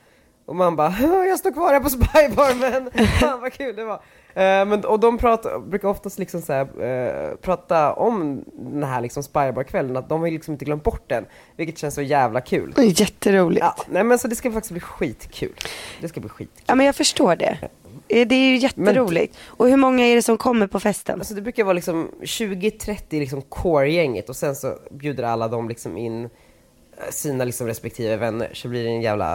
S3: Och man bara, jag står kvar här på [LAUGHS] Spybar men fan vad kul det var. Eh, men, och de pratar, brukar oftast liksom så här, eh, prata om den här liksom Spybar-kvällen, att de har ju liksom inte glömt bort den. Vilket känns så jävla kul.
S2: Jätteroligt.
S3: Ja,
S2: Ja.
S3: nej men så det ska faktiskt bli skitkul. Det ska bli skitkul.
S2: ja men jag förstår det. Eh, Det är ju jätteroligt. Och hur många är det som kommer på festen?
S3: Alltså det brukar vara liksom 20-30 liksom core-gänget och sen så bjuder alla dem liksom in eh, sina liksom respektive vänner. Så blir det en jävla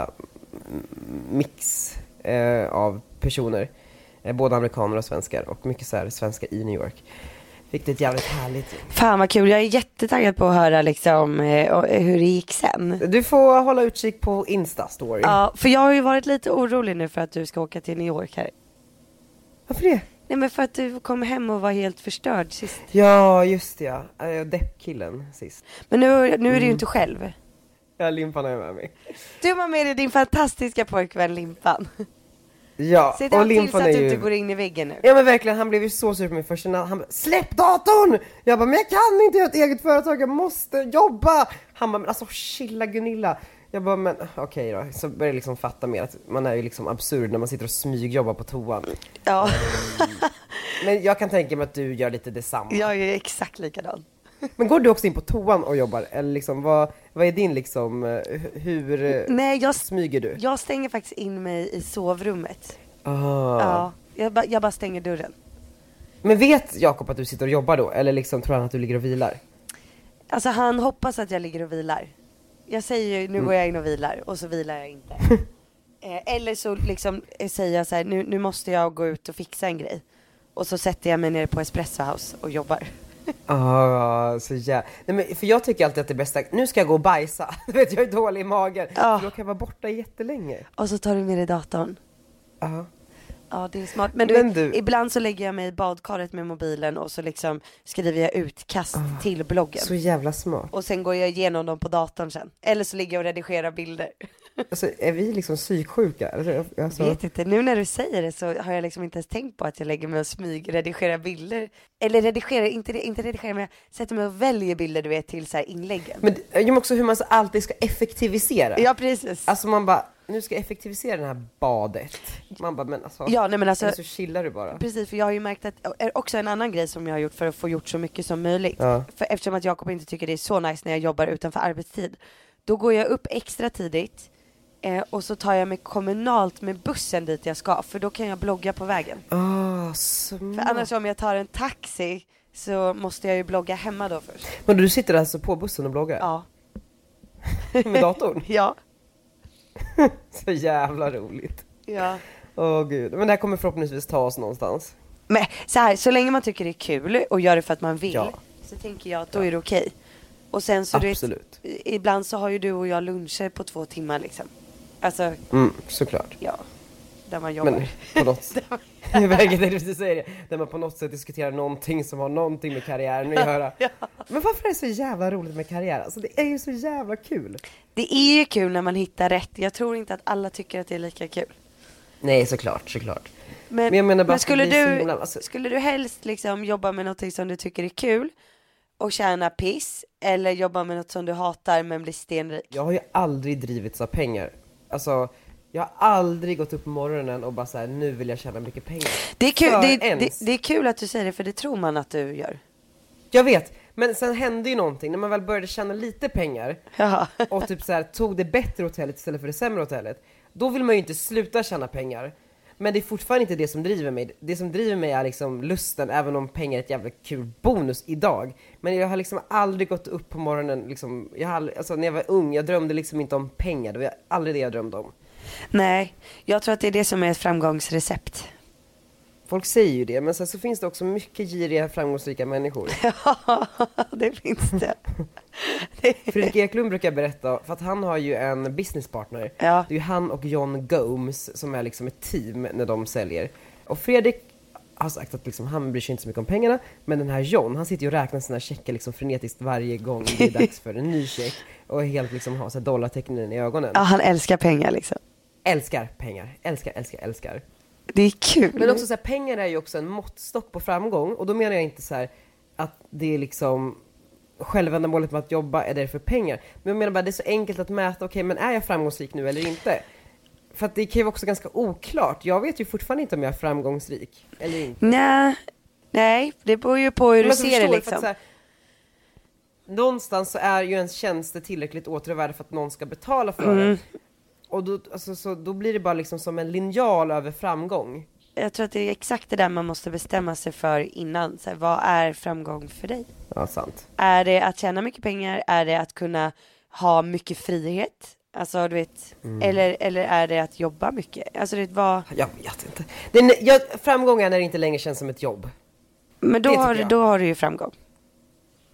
S3: mm, mix eh, av personer. Eh, både amerikaner och svenskar och mycket så här svenskar i New York. Vilket är ett jävligt härligt.
S2: Fan vad kul, jag är jättetaggad på att höra liksom eh, och- hur det gick sen.
S3: Du får hålla utkik på Insta-story.
S2: Ja, för jag har ju varit lite orolig nu för att du ska åka till New York här.
S3: Varför det?
S2: Nej men för att du kom hem och var helt förstörd sist.
S3: Ja, just det ja. Eh, Deppkillen sist.
S2: Men nu, nu är
S3: Mm.
S2: du ju inte själv.
S3: Ja, Limpan är med mig.
S2: Du har med dig din fantastiska pojkvän Limpan.
S3: Ja,
S2: Se
S3: och
S2: till så typ
S3: Limpan
S2: att
S3: är
S2: du
S3: ju...
S2: inte går in i väggen nu.
S3: Ja men verkligen, han blev ju så sur på mig först. Han bara, släpp datorn! Jag bara, men jag kan inte, jag har ett eget företag, jag måste jobba! Han bara, men alltså chilla Gunilla! Jag bara, men okej då. Så började jag liksom fatta mer att man är ju liksom absurd när man sitter och smygjobbar på toan.
S2: Ja, [LAUGHS]
S3: Men jag kan tänka mig att du gör lite detsamma.
S2: jag är exakt likadan.
S3: Men går du också in på toan och jobbar? Eller liksom, vad, vad är din liksom, eh, hur eh,
S2: Nej, Mm, jag,
S3: smyger du?
S2: jag stänger faktiskt in mig i sovrummet.
S3: Ah.
S2: Ja, jag, ba, jag bara stänger dörren.
S3: Men vet Jakob att du sitter och jobbar då? Eller liksom, tror han att du ligger och vilar?
S2: Alltså han hoppas att jag ligger och vilar. Jag säger ju, nu
S3: Mm.
S2: går jag in och vilar och så vilar jag
S3: [LAUGHS]
S2: inte. eh, eller så liksom eh, säger jag så här, nu, nu måste jag gå ut och fixa en grej. Och så sätter jag mig ner på Espresso House och jobbar.
S3: Ah, så jä... Nej, men, för jag tycker alltid att det bästa, nu ska jag gå och bajsa. [LAUGHS] Du vet, jag är dålig i magen.
S2: Ja.
S3: För Då kan jag vara borta jättelänge. Ah,
S2: Och så tar du med dig datorn. Ah,
S3: Ja.
S2: Ja det är smart. Men du,
S3: Men du-
S2: ibland så lägger jag mig i badkaret med mobilen och så liksom skriver jag utkast till bloggen.
S3: Ah, Så jävla smart.
S2: Och sen går jag igenom dem på datorn sen. Eller så ligger jag och redigerar [LAUGHS] bilder.
S3: Alltså, är vi liksom psyksjuka? Eller, Alltså,
S2: Vet inte, nu när du säger det så har jag liksom inte ens tänkt på att jag lägger mig och smygredigerar bilder. Eller redigerar, inte, inte redigerar men jag sätter mig och väljer bilder du vet till så här inläggen.
S3: men, ja, men också hur man så alltid ska effektivisera.
S2: [LAUGHS] Ja precis.
S3: Alltså man bara, nu ska jag effektivisera det här badet. Man bara, men alltså.
S2: Ja nej men alltså,
S3: Eller så chillar du bara.
S2: precis för jag har ju märkt att, och är också en annan grej som jag har gjort för att få gjort så mycket som möjligt.
S3: Ja.
S2: För eftersom att Jakob inte tycker det är så nice när jag jobbar utanför arbetstid. Då går jag upp extra tidigt eh, och så tar jag mig kommunalt med bussen dit jag ska för då kan jag blogga på vägen.
S3: Ah,
S2: För
S3: smart.
S2: annars om jag tar en taxi så måste jag ju blogga hemma då först.
S3: Men du sitter alltså på bussen och bloggar?
S2: Ja.
S3: Med datorn?
S2: [LAUGHS] Ja.
S3: så jävla roligt.
S2: ja.
S3: Åh gud. Men det här kommer förhoppningsvis ta oss någonstans.
S2: Men så här, så länge man tycker det är kul och gör det för att man vill
S3: Ja.
S2: så tänker jag att då är det okej. Och sen så du
S3: Absolut.
S2: Vet, i- ibland så har ju du och jag luncher på två timmar liksom. Alltså,
S3: Mm, såklart.
S2: ja. Där man jobbar.
S3: Men på något [LAUGHS] sätt. Jag verkar det precis säger det. Där man på något sätt diskuterar någonting som har någonting med karriären att göra. Men varför är det så jävla roligt med karriär? Alltså det är ju så jävla kul.
S2: [LAUGHS] Det är ju kul när man hittar rätt. Jag tror inte att alla tycker att det är lika kul.
S3: Nej, såklart, såklart.
S2: Men,
S3: Men jag menar bara att
S2: skulle,
S3: det blir så
S2: du,
S3: himla- alltså-
S2: skulle du helst liksom jobba med någonting som du tycker är kul och tjäna piss eller jobba med något som du hatar men bli stenrik?
S3: Jag har ju aldrig drivits av pengar. Alltså, jag har aldrig gått upp på morgonen och bara så här, nu vill jag tjäna mycket pengar.
S2: Det är, kul,
S3: För
S2: det, det,
S3: ens.
S2: det är kul att du säger det för det tror man att du
S3: [LAUGHS]
S2: gör.
S3: Jag vet, men sen hände ju någonting. När man väl började tjäna lite pengar
S2: Ja.
S3: och typ så här, tog det bättre hotellet istället för det sämre hotellet. Då vill man ju inte sluta tjäna pengar. Men det är fortfarande inte det som driver mig. Det som driver mig är liksom lusten, även om pengar är ett jävla kul bonus idag. Men jag har liksom aldrig gått upp på morgonen, liksom, jag har aldrig, alltså när jag var ung, jag drömde liksom inte om pengar. Det var aldrig det jag drömde om.
S2: Nej, jag tror att det är det som är ett framgångsrecept.
S3: Folk säger ju det, men sen så finns det också mycket giriga, framgångsrika människor.
S2: Ja, [LAUGHS] det finns
S3: [LAUGHS]
S2: det. det.
S3: Fredrik Eklund brukar berätta, för att han har ju en businesspartner.
S2: Ja.
S3: Det är ju han och John Gomes som är liksom ett team när de säljer. Och Fredrik har sagt att liksom, han bryr sig inte så mycket om pengarna, men den här John, han sitter ju och räknar sina checkar liksom frenetiskt varje gång det är dags för en ny check. Och helt liksom har så här dollartecknen i ögonen.
S2: Ja, han älskar pengar liksom.
S3: Älskar pengar, älskar, älskar, älskar.
S2: Det är kul.
S3: Men också så här, pengar är ju också en måttstock på framgång och då menar jag inte så här att det är liksom självändamålet med att jobba är därför pengar. Men jag menar bara det är så enkelt att mäta, okej men är jag framgångsrik nu eller inte? För att det kan ju vara också ganska oklart. Jag vet ju fortfarande inte om jag är framgångsrik eller inte.
S2: Nej, nej, det beror ju på hur
S3: Men
S2: du
S3: alltså,
S2: ser det
S3: förstår
S2: liksom.
S3: För att, så här, någonstans så är ju ens tjänster tillräckligt återvärda för att någon ska betala för
S2: Mm.
S3: det. Och då, alltså, så, då blir det bara liksom som en linjal över framgång.
S2: Jag tror att det är exakt det där man måste bestämma sig för innan. Så här, vad är framgång för dig?
S3: Ja, sant.
S2: Är det att tjäna mycket pengar? Är det att kunna ha mycket frihet? Alltså du vet,
S3: Mm.
S2: eller, eller är det att jobba mycket? Alltså det var,
S3: Jag vet inte. Det är, när- jag, framgång är när det inte längre känns som ett jobb.
S2: men då
S3: Det
S2: har,
S3: tycker
S2: du-
S3: jag.
S2: då har du ju framgång.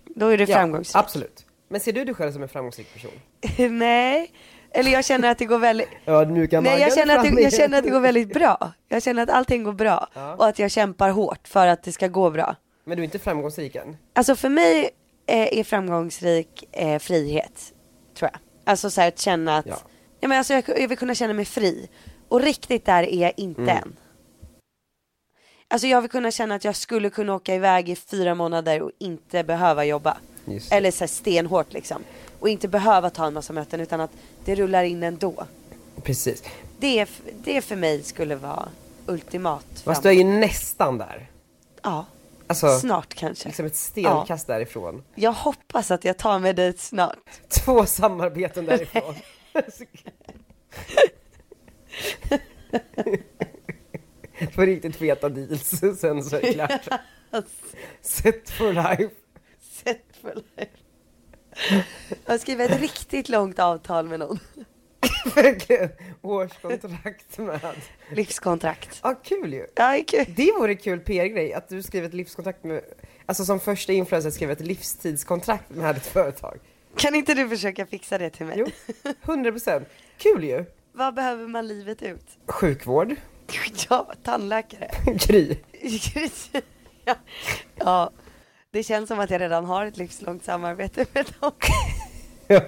S2: Då är du framgångsrik.
S3: Ja, absolut. Men ser du dig själv som en framgångsrik person?
S2: [LAUGHS] Nej, eller jag känner att det går väldigt,
S3: Ja, nu kan
S2: nej jag känner, att det, jag känner att det går väldigt bra. Jag känner att allting går bra
S3: Ja.
S2: och att jag kämpar hårt för att det ska gå bra.
S3: Men du är inte framgångsrik än?
S2: Alltså för mig eh, är framgångsrik eh, frihet, tror jag. Alltså så här att känna att, ja.
S3: Ja.
S2: men alltså jag, jag vill kunna känna mig fri. Och riktigt där är jag inte
S3: Mm.
S2: än. Alltså jag vill kunna känna att jag skulle kunna åka iväg i fyra månader och inte behöva jobba.
S3: Just det.
S2: Eller så här stenhårt liksom. Och inte behöva ta en massa möten utan att det rullar in ändå.
S3: Precis.
S2: Det, är f- det för mig skulle vara ultimat.
S3: Fast
S2: fram-
S3: du är ju nästan där.
S2: Ja.
S3: Alltså,
S2: Snart kanske.
S3: liksom ett stenkast därifrån.
S2: Jag hoppas att jag tar mig dit snart.
S3: Två samarbeten därifrån. [LAUGHS] På riktigt feta deals, sen så är det klart.
S2: [LAUGHS]
S3: Set for life.
S2: Set for life. Jag skriver ett riktigt långt avtal med någon.
S3: Verkligen. Årskontrakt med.
S2: Livskontrakt.
S3: Ja, kul ju.
S2: Ja, det är kul.
S3: Det vore kul PR-grej, att du skriver ett livskontrakt med, alltså som första influencer skriver ett livstidskontrakt med ett företag.
S2: Kan inte du försöka fixa det till mig?
S3: Jo, 100 procent. Kul ju.
S2: Vad behöver man livet ut?
S3: Sjukvård, [LAUGHS]
S2: Ja, tandläkare.
S3: Gry.
S2: ja. ja, det känns som att jag redan har ett livslångt samarbete med dem.
S3: Ja.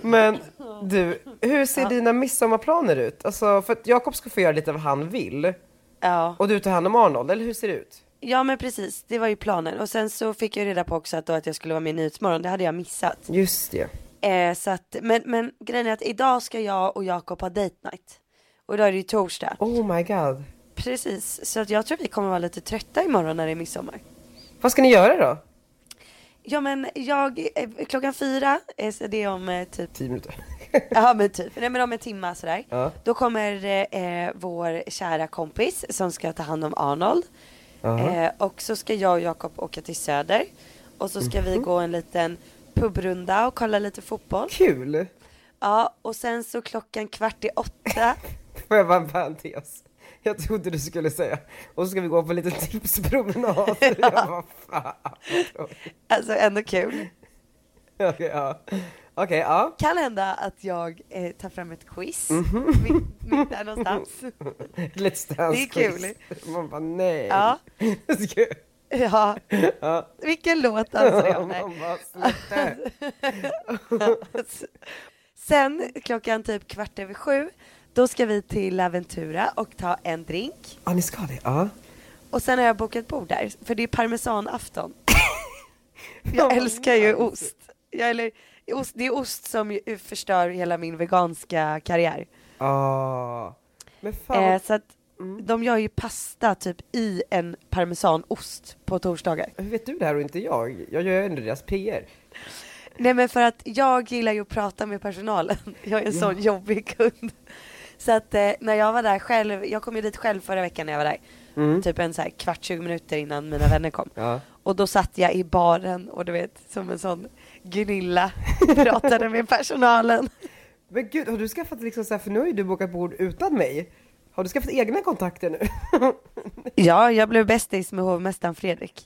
S3: Men du, hur ser dina midsommarplaner ut? Alltså, för att Jakob ska få göra lite vad han vill
S2: Ja.
S3: och du tar hand om Arnold, eller hur ser det ut?
S2: ja, men precis. Det var ju planen. Och sen så fick jag ju reda på också att, då att jag skulle vara med i Nyhetsmorgon. Det hade jag missat.
S3: Just det.
S2: Eh, så att, men, men grejen är att idag ska jag och Jakob ha date night. Och idag är det ju torsdag.
S3: Oh my god.
S2: Precis, så att jag tror vi kommer vara lite trötta imorgon när det är midsommar.
S3: Vad ska ni göra då?
S2: Ja men jag, eh, klockan fyra, eh, så det är om eh, typ,
S3: 10 minuter.
S2: [LAUGHS]
S3: [LAUGHS]
S2: ja men typ, nej men om en timma sådär.
S3: Ja.
S2: Då kommer eh, eh, vår kära kompis som ska ta hand om Arnold. Eh, och så ska jag och Jakob åka till Söder. Och så ska vi gå en liten pubrunda och kolla lite fotboll.
S3: Kul!
S2: Ja, och sen så klockan kvart i [LAUGHS] åtta.
S3: Får jag bara en parentes? Jag trodde du skulle säga, och så ska vi gå på lite tipspromenad.
S2: [LAUGHS]
S3: Jag bara, fan.
S2: alltså ändå kul.
S3: Okej, ja. Okej, ja.
S2: Kan hända att jag eh, tar fram ett quiz. Mitt, mitt där [LAUGHS] någonstans.
S3: Let's dance
S2: Det är kul.
S3: quiz. Man bara, nej.
S2: Ja.
S3: Ska-
S2: Ja.
S3: Ja.
S2: Vilken låt alltså det
S3: Man
S2: är.
S3: bara, sluta.
S2: Sen klockan typ kvart över sju, då ska vi till La Ventura och ta en drink.
S3: Ja, ni ska det? Ja.
S2: Och sen har jag bokat bord där, för det är parmesanafton. Jag älskar ju ost. Jag, eller, ost. Det är ost som ju förstör hela min veganska karriär.
S3: Ah. Men fan,
S2: Eh, så att de gör ju pasta typ i en parmesanost på torsdagar.
S3: hur vet du det här och inte jag? Jag gör ju ändå deras PR.
S2: Nej men för att jag gillar ju att prata med personalen. [LAUGHS] Jag är en sån jobbig kund. Så att eh, när jag var där själv, jag kom ju dit själv förra veckan när jag var där. Typ en så här kvart, 20 minuter innan mina vänner kom.
S3: Ja.
S2: Och då satt jag i baren och du vet, som en sån [LAUGHS] gnilla, pratade med personalen.
S3: Men gud, har du skaffat liksom så här, för nu har ju du bokat bord utan mig. Har du skaffat egna kontakter nu? [LAUGHS]
S2: Ja, jag blev bästis med hovmästaren Fredrik.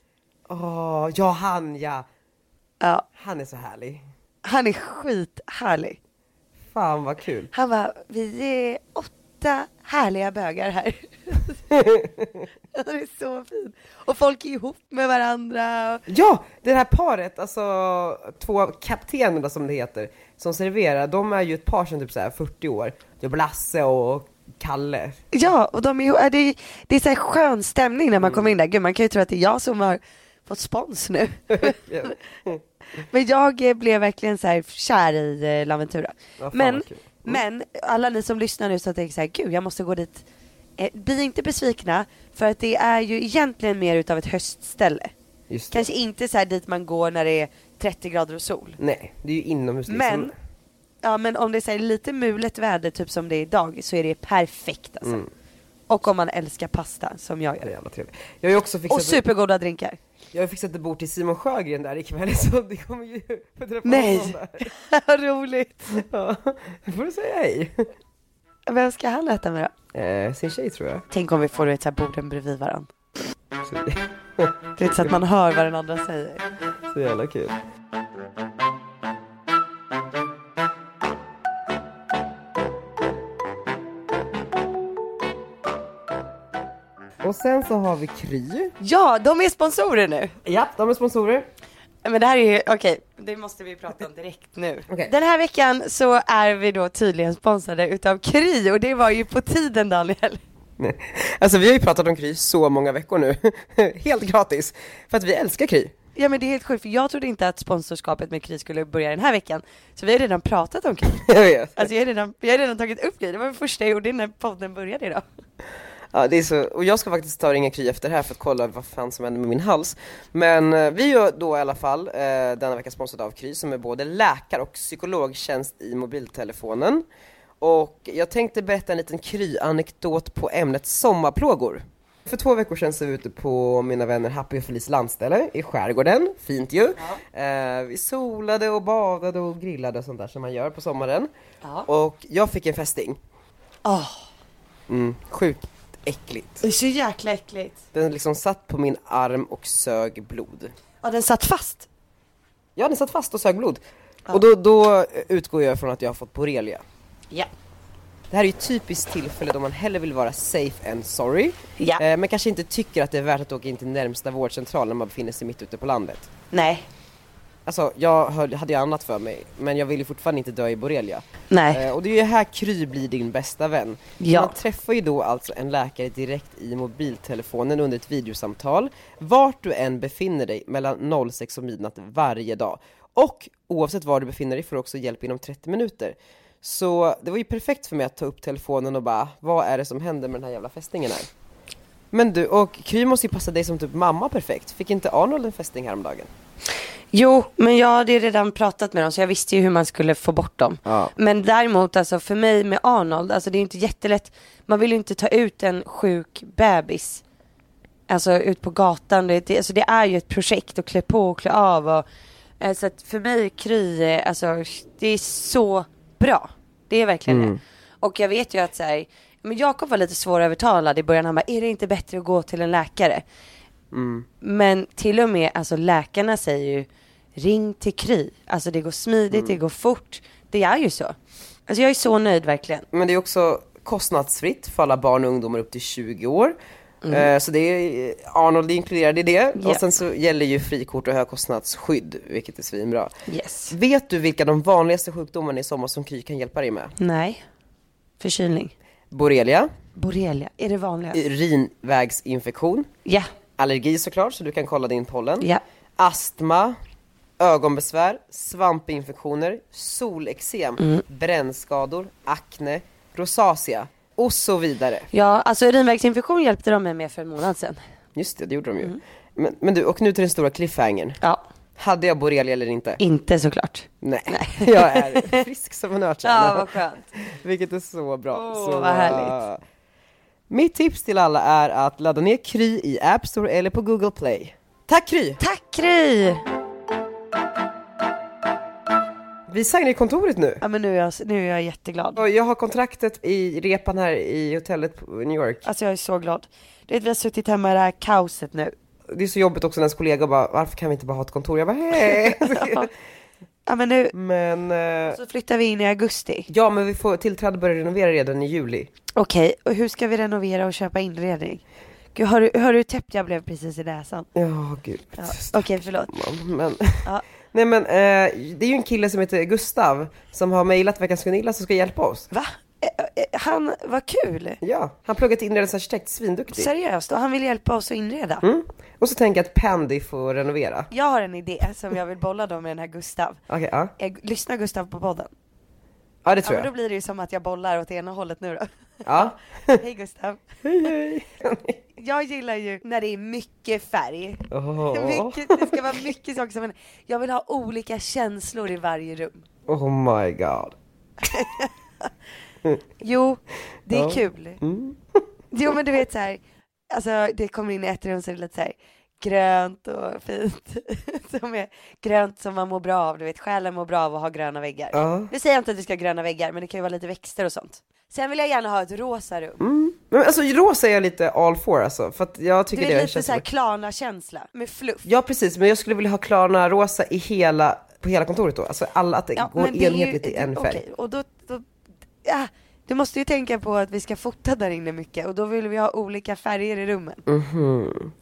S3: Åh, ja han ja.
S2: Ja,
S3: Han är så härlig.
S2: han är skithärlig.
S3: Fan vad kul.
S2: Han var vi är åtta härliga bögar [LAUGHS] här. det är så fint. Och folk är ihop med varandra.
S3: Ja, det här paret, alltså två kaptenerna som det heter, som serverar, de är ju ett par sedan typ så här 40 år. Det är Blasse och Kalle. [LAUGHS]
S2: Ja, och de är, ihop- det är, det är så här skön stämning när man kommer in där. Gud, man kan ju tro att det är jag som har fått spons [LAUGHS] nu. Men jag eh, blev verkligen så här kär i eh, La Ventura.
S3: Ja, fan
S2: men,
S3: vad kul.
S2: men alla ni som lyssnar nu så tänker så här, gud jag måste gå dit. Eh, bli inte besvikna, för att det är ju egentligen mer utav ett höstställe.
S3: Just det.
S2: Kanske inte så här dit man går när det är 30 grader och sol.
S3: Nej, det är ju inomhus liksom.
S2: Men, ja, men om det är så här lite mulet väder, typ som det är idag, så är det perfekt alltså. Och om man älskar pasta, som jag
S3: Mm. Ja, det är
S2: gör.
S3: jävla trevligt. Jag har ju också
S2: Och
S3: fixat,
S2: supergoda drinkar. [LAUGHS]
S3: jag har fixat ett bord till Simon Sjögren där ikväll [LAUGHS] så det kommer ju få träffa honom
S2: Nej,
S3: där. [LAUGHS]
S2: vad roligt.
S3: Ja, då får du säga hej.
S2: Vem ska han äta med då?
S3: Eh, sin tjej tror jag.
S2: Tänk om vi får du vet, så här borden bredvid varandra.
S3: Så, [LAUGHS]
S2: Du vet, så att man hör vad den andra säger.
S3: så jävla kul. Och sen så har vi Kry.
S2: Ja, de är sponsorer nu.
S3: Ja, de är sponsorer.
S2: Men det här är ju, okej, det måste vi prata om direkt nu.
S3: Okej.
S2: Den här veckan så är vi då tydligen sponsrade utav Kry och det var ju på tiden Daniel.
S3: Nej. Alltså vi har ju pratat om Kry så många veckor nu. [LAUGHS] Helt gratis. För att vi älskar Kry. [LAUGHS]
S2: Ja men det är helt sjukt för jag trodde inte att sponsorskapet med Kry skulle börja den här veckan. Så vi har redan pratat [LAUGHS] om Kry.
S3: Jag vet.
S2: Alltså jag har redan, jag har redan tagit upp Kry, det var det första jag gjorde innan podden började idag.
S3: Ja, det är så, och jag ska faktiskt ta och ringa Kry efter det här för att kolla vad fan som händer med min hals. Men eh, vi är då i alla fall eh, denna vecka sponsrade av Kry som är både läkare och psykologtjänst i mobiltelefonen. Och jag tänkte berätta en liten Kry-anekdot på ämnet sommarplågor. För två veckor sedan så var vi ute på mina vänner Happy och Felice landställe i skärgården, fint ju. Eh, vi solade och badade och grillade och sånt där som man gör på sommaren. Och jag fick en fästing.
S2: Åh,
S3: Mm, sjukt äckligt.
S2: det är så jäkla äckligt.
S3: Den liksom satt på min arm och sög blod.
S2: Ja, den satt fast.
S3: Ja, den satt fast och sög blod. Och då, då utgår jag från att jag har fått borrelia.
S2: Ja.
S3: Det här är ju ett typiskt tillfälle då man hellre vill vara safe än sorry.
S2: Ja.
S3: Eh, men kanske inte tycker att det är värt att åka in till närmsta vårdcentral när man befinner sig mitt ute på landet.
S2: Nej.
S3: Alltså, jag höll, hade ju annat för mig, men jag vill ju fortfarande inte dö i borrelia.
S2: Nej.
S3: Eh, och det är ju här Kry blir din bästa vän.
S2: Ja.
S3: Man träffar ju då alltså en läkare direkt i mobiltelefonen under ett videosamtal, vart du än befinner dig mellan 06 och midnatt varje dag. Och oavsett var du befinner dig får du också hjälp inom 30 minuter. Så det var ju perfekt för mig att ta upp telefonen och bara, vad är det som händer med den här jävla fästingen här? Men du, och Kry måste ju passa dig som typ mamma perfekt. Fick inte Arnold en fästing häromdagen?
S2: Jo, men jag hade ju redan pratat med dem så jag visste ju hur man skulle få bort dem.
S3: Ja.
S2: Men däremot alltså för mig med Arnold, alltså det är ju inte jättelätt. Man vill ju inte ta ut en sjuk bebis. Alltså ut på gatan, det, det, alltså det är ju ett projekt att klä på och klä av. Och, eh, så att för mig Kry, eh, alltså det är så bra. Det är verkligen det. Och jag vet ju att så här, men Jakob var lite svårövertalad i början. Han bara, är det inte bättre att gå till en läkare? Men till och med alltså läkarna säger ju ring till Kry. Alltså det går smidigt, det går fort. Det är ju så. Alltså jag är så nöjd verkligen.
S3: Men det är också kostnadsfritt för alla barn och ungdomar upp till 20 år.
S2: Mm.
S3: Eh, Så det är, Arnold är inkluderad i det. Och sen så gäller ju frikort och högkostnadsskydd, vilket är svinbra.
S2: Yes.
S3: Vet du vilka de vanligaste sjukdomarna i sommar som Kry kan hjälpa dig med?
S2: Nej. Förkylning.
S3: Borrelia,
S2: Borrelia, är det vanliga?
S3: urinvägsinfektion,
S2: Ja.
S3: allergi såklart, så du kan kolla din pollen.
S2: Ja.
S3: Astma, ögonbesvär, svampinfektioner, solexem,
S2: Mm.
S3: brännskador, akne, rosacea och så vidare.
S2: Ja, alltså urinvägsinfektion hjälpte de mig med för en månad sedan.
S3: Just det, det gjorde de
S2: Mm.
S3: ju. Men, men du, och nu till den stora cliffhangern.
S2: Ja,
S3: Hade jag borrelia eller inte?
S2: inte såklart.
S3: Nej, [LAUGHS] jag är frisk som en
S2: Ja,
S3: örtjärna.
S2: vad skönt.
S3: [LAUGHS] Vilket är så bra.
S2: Åh,
S3: så,
S2: vad härligt.
S3: äh, Mitt tips till alla är att ladda ner Kry i App Store eller på Google Play. Tack Kry!
S2: Tack Kry!
S3: Vi signar i kontoret nu.
S2: Ja, men nu är jag, nu är jag jätteglad.
S3: Och jag har kontraktet i repan här i hotellet på- i New York.
S2: Alltså jag är så glad. Du vet vi har suttit hemma i det här kaoset nu.
S3: Det är så jobbigt också när ens kollega bara, varför kan vi inte bara ha ett kontor? Jag bara, hej! [LAUGHS]
S2: Ja men nu
S3: men, eh,
S2: så flyttar vi in i augusti.
S3: ja men vi får tillträde och börja renovera redan i juli.
S2: Okej, och hur ska vi renovera och köpa inredning? Gud, hör, du- hör du hur täppt jag blev precis i näsan?
S3: Ja, gud.
S2: Ja, Okej, förlåt.
S3: Men,
S2: Ja.
S3: nej men eh, det är ju en kille som heter Gustav som har mejlat Veckans Gunilla som ska hjälpa oss.
S2: Va? Eh, eh, Han, vad kul!
S3: Ja, han pluggar till inredningsarkitekt, svinduktig.
S2: Seriöst, och han vill hjälpa oss att inreda.
S3: Mm. Och så tänker jag att Pandy får renovera.
S2: Jag har en idé som jag vill bolla då med den här Gustav.
S3: Okej, ja.
S2: Eh, Lyssna Gustav på podden.
S3: ja det
S2: Ja,
S3: tror
S2: men då
S3: jag.
S2: blir det ju som att jag bollar åt ena hållet nu då. [LAUGHS]
S3: Ja. [LAUGHS]
S2: Hej Gustav.
S3: Hej hej!
S2: Jag gillar ju när det är mycket färg.
S3: Åh
S2: [LAUGHS] Mycket, det ska vara mycket saker som händer. Jag vill ha olika känslor i varje rum.
S3: oh my god.
S2: Jo, det är
S3: Ja. Mm.
S2: kul. Jo men du vet så här, alltså det kommer in i ett rum så är det lite så här grönt och fint. [LAUGHS] Som är grönt som man mår bra av, du vet själen mår bra av att ha gröna väggar.
S3: Ja.
S2: Nu säger jag inte att vi ska ha gröna väggar men det kan ju vara lite växter och sånt. Sen vill jag gärna ha ett rosa rum.
S3: Men alltså rosa är jag lite all for alltså, för att jag
S2: Du
S3: tycker
S2: vet
S3: det
S2: lite
S3: känns
S2: så här
S3: som-
S2: Klarna-känsla med fluff.
S3: Ja precis, men jag skulle vilja ha Klarna rosa i hela, på hela kontoret då. Alltså alla, att det går
S2: men det är ju-
S3: enhetligt i en färg.
S2: okej, och då, då ja, du måste ju tänka på att vi ska fota där inne mycket och då vill vi ha olika färger i rummen.
S3: Mhm.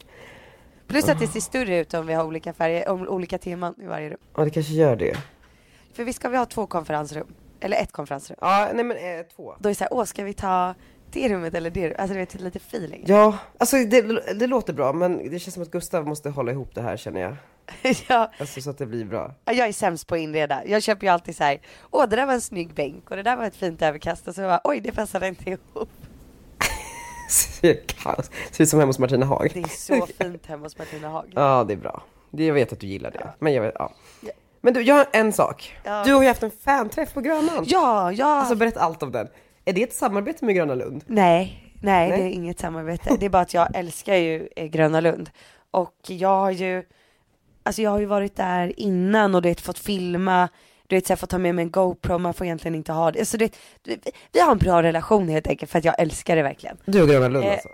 S2: Plus att det ser större ut om vi har olika färger, om olika teman i varje rum.
S3: Ja det kanske gör det.
S2: För vi ska vi ha två konferensrum, eller ett konferensrum.
S3: Ja, nej men eh, två.
S2: Då är det så här, åh ska vi ta det rummet eller det rummet? Alltså du vet, lite feeling.
S3: Ja, alltså det, det låter bra men det känns som att Gustav måste hålla ihop det här känner jag.
S2: [LAUGHS] ja,
S3: Alltså så att det blir bra.
S2: jag är sämst på att inreda. Jag köper ju alltid så här, åh det där var en snygg bänk och det där var ett fint överkast och så bara, oj det passade inte ihop.
S3: Ser kaos- Ser ut som hemma hos Martina Haag.
S2: Det är [LAUGHS] så fint hemma hos Martina Haag.
S3: Ja, det är bra. Det, jag vet att du gillar det. Men jag vet, ja. Men du, jag har en sak.
S2: Ja.
S3: Du har ju haft en fanträff på Grönan.
S2: Ja, ja.
S3: Alltså berätta allt om den. Är det ett samarbete med Gröna Lund?
S2: Nej, nej,
S3: Nej.
S2: det är inget samarbete. Det är bara att jag älskar ju eh, Gröna Lund. Och jag har ju, alltså jag har ju varit där innan och du vet fått filma, du vet så jag får ta med mig en GoPro, man får egentligen inte ha det. Alltså du vet, vi, vi har en bra relation helt enkelt för att jag älskar det verkligen.
S3: Du och Gröna Lund
S2: Eh,
S3: alltså?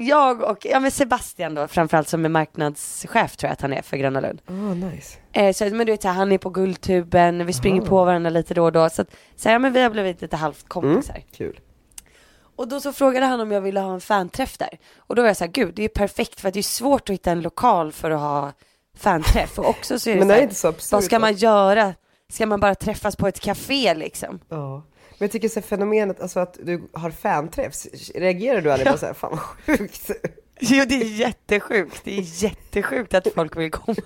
S2: Jag och, ja men Sebastian då, framförallt som är marknadschef tror jag att han är för Gröna Lund.
S3: Åh, oh, nice.
S2: Eh, så, men du vet så här, han är på Guldtuben, vi springer på varandra lite då och då. Så, att, så här, ja, men vi har blivit lite halvt kompisar.
S3: Kul.
S2: Och då så frågade han om jag ville ha en fanträff där. Och då var jag så här, gud det är perfekt för att det är svårt att hitta en lokal för att ha fanträff. Och också så är det,
S3: Men
S2: så
S3: det
S2: här,
S3: är inte så absurt.
S2: vad ska
S3: då?
S2: man göra? Ska man bara träffas på ett café liksom?
S3: Ja. Men jag tycker så här, fenomenet, alltså att du har fanträffs, reagerar du aldrig bara såhär, fan vad sjukt?
S2: [LAUGHS] Jo det är jättesjukt, det är jättesjukt att folk vill komma. [LAUGHS]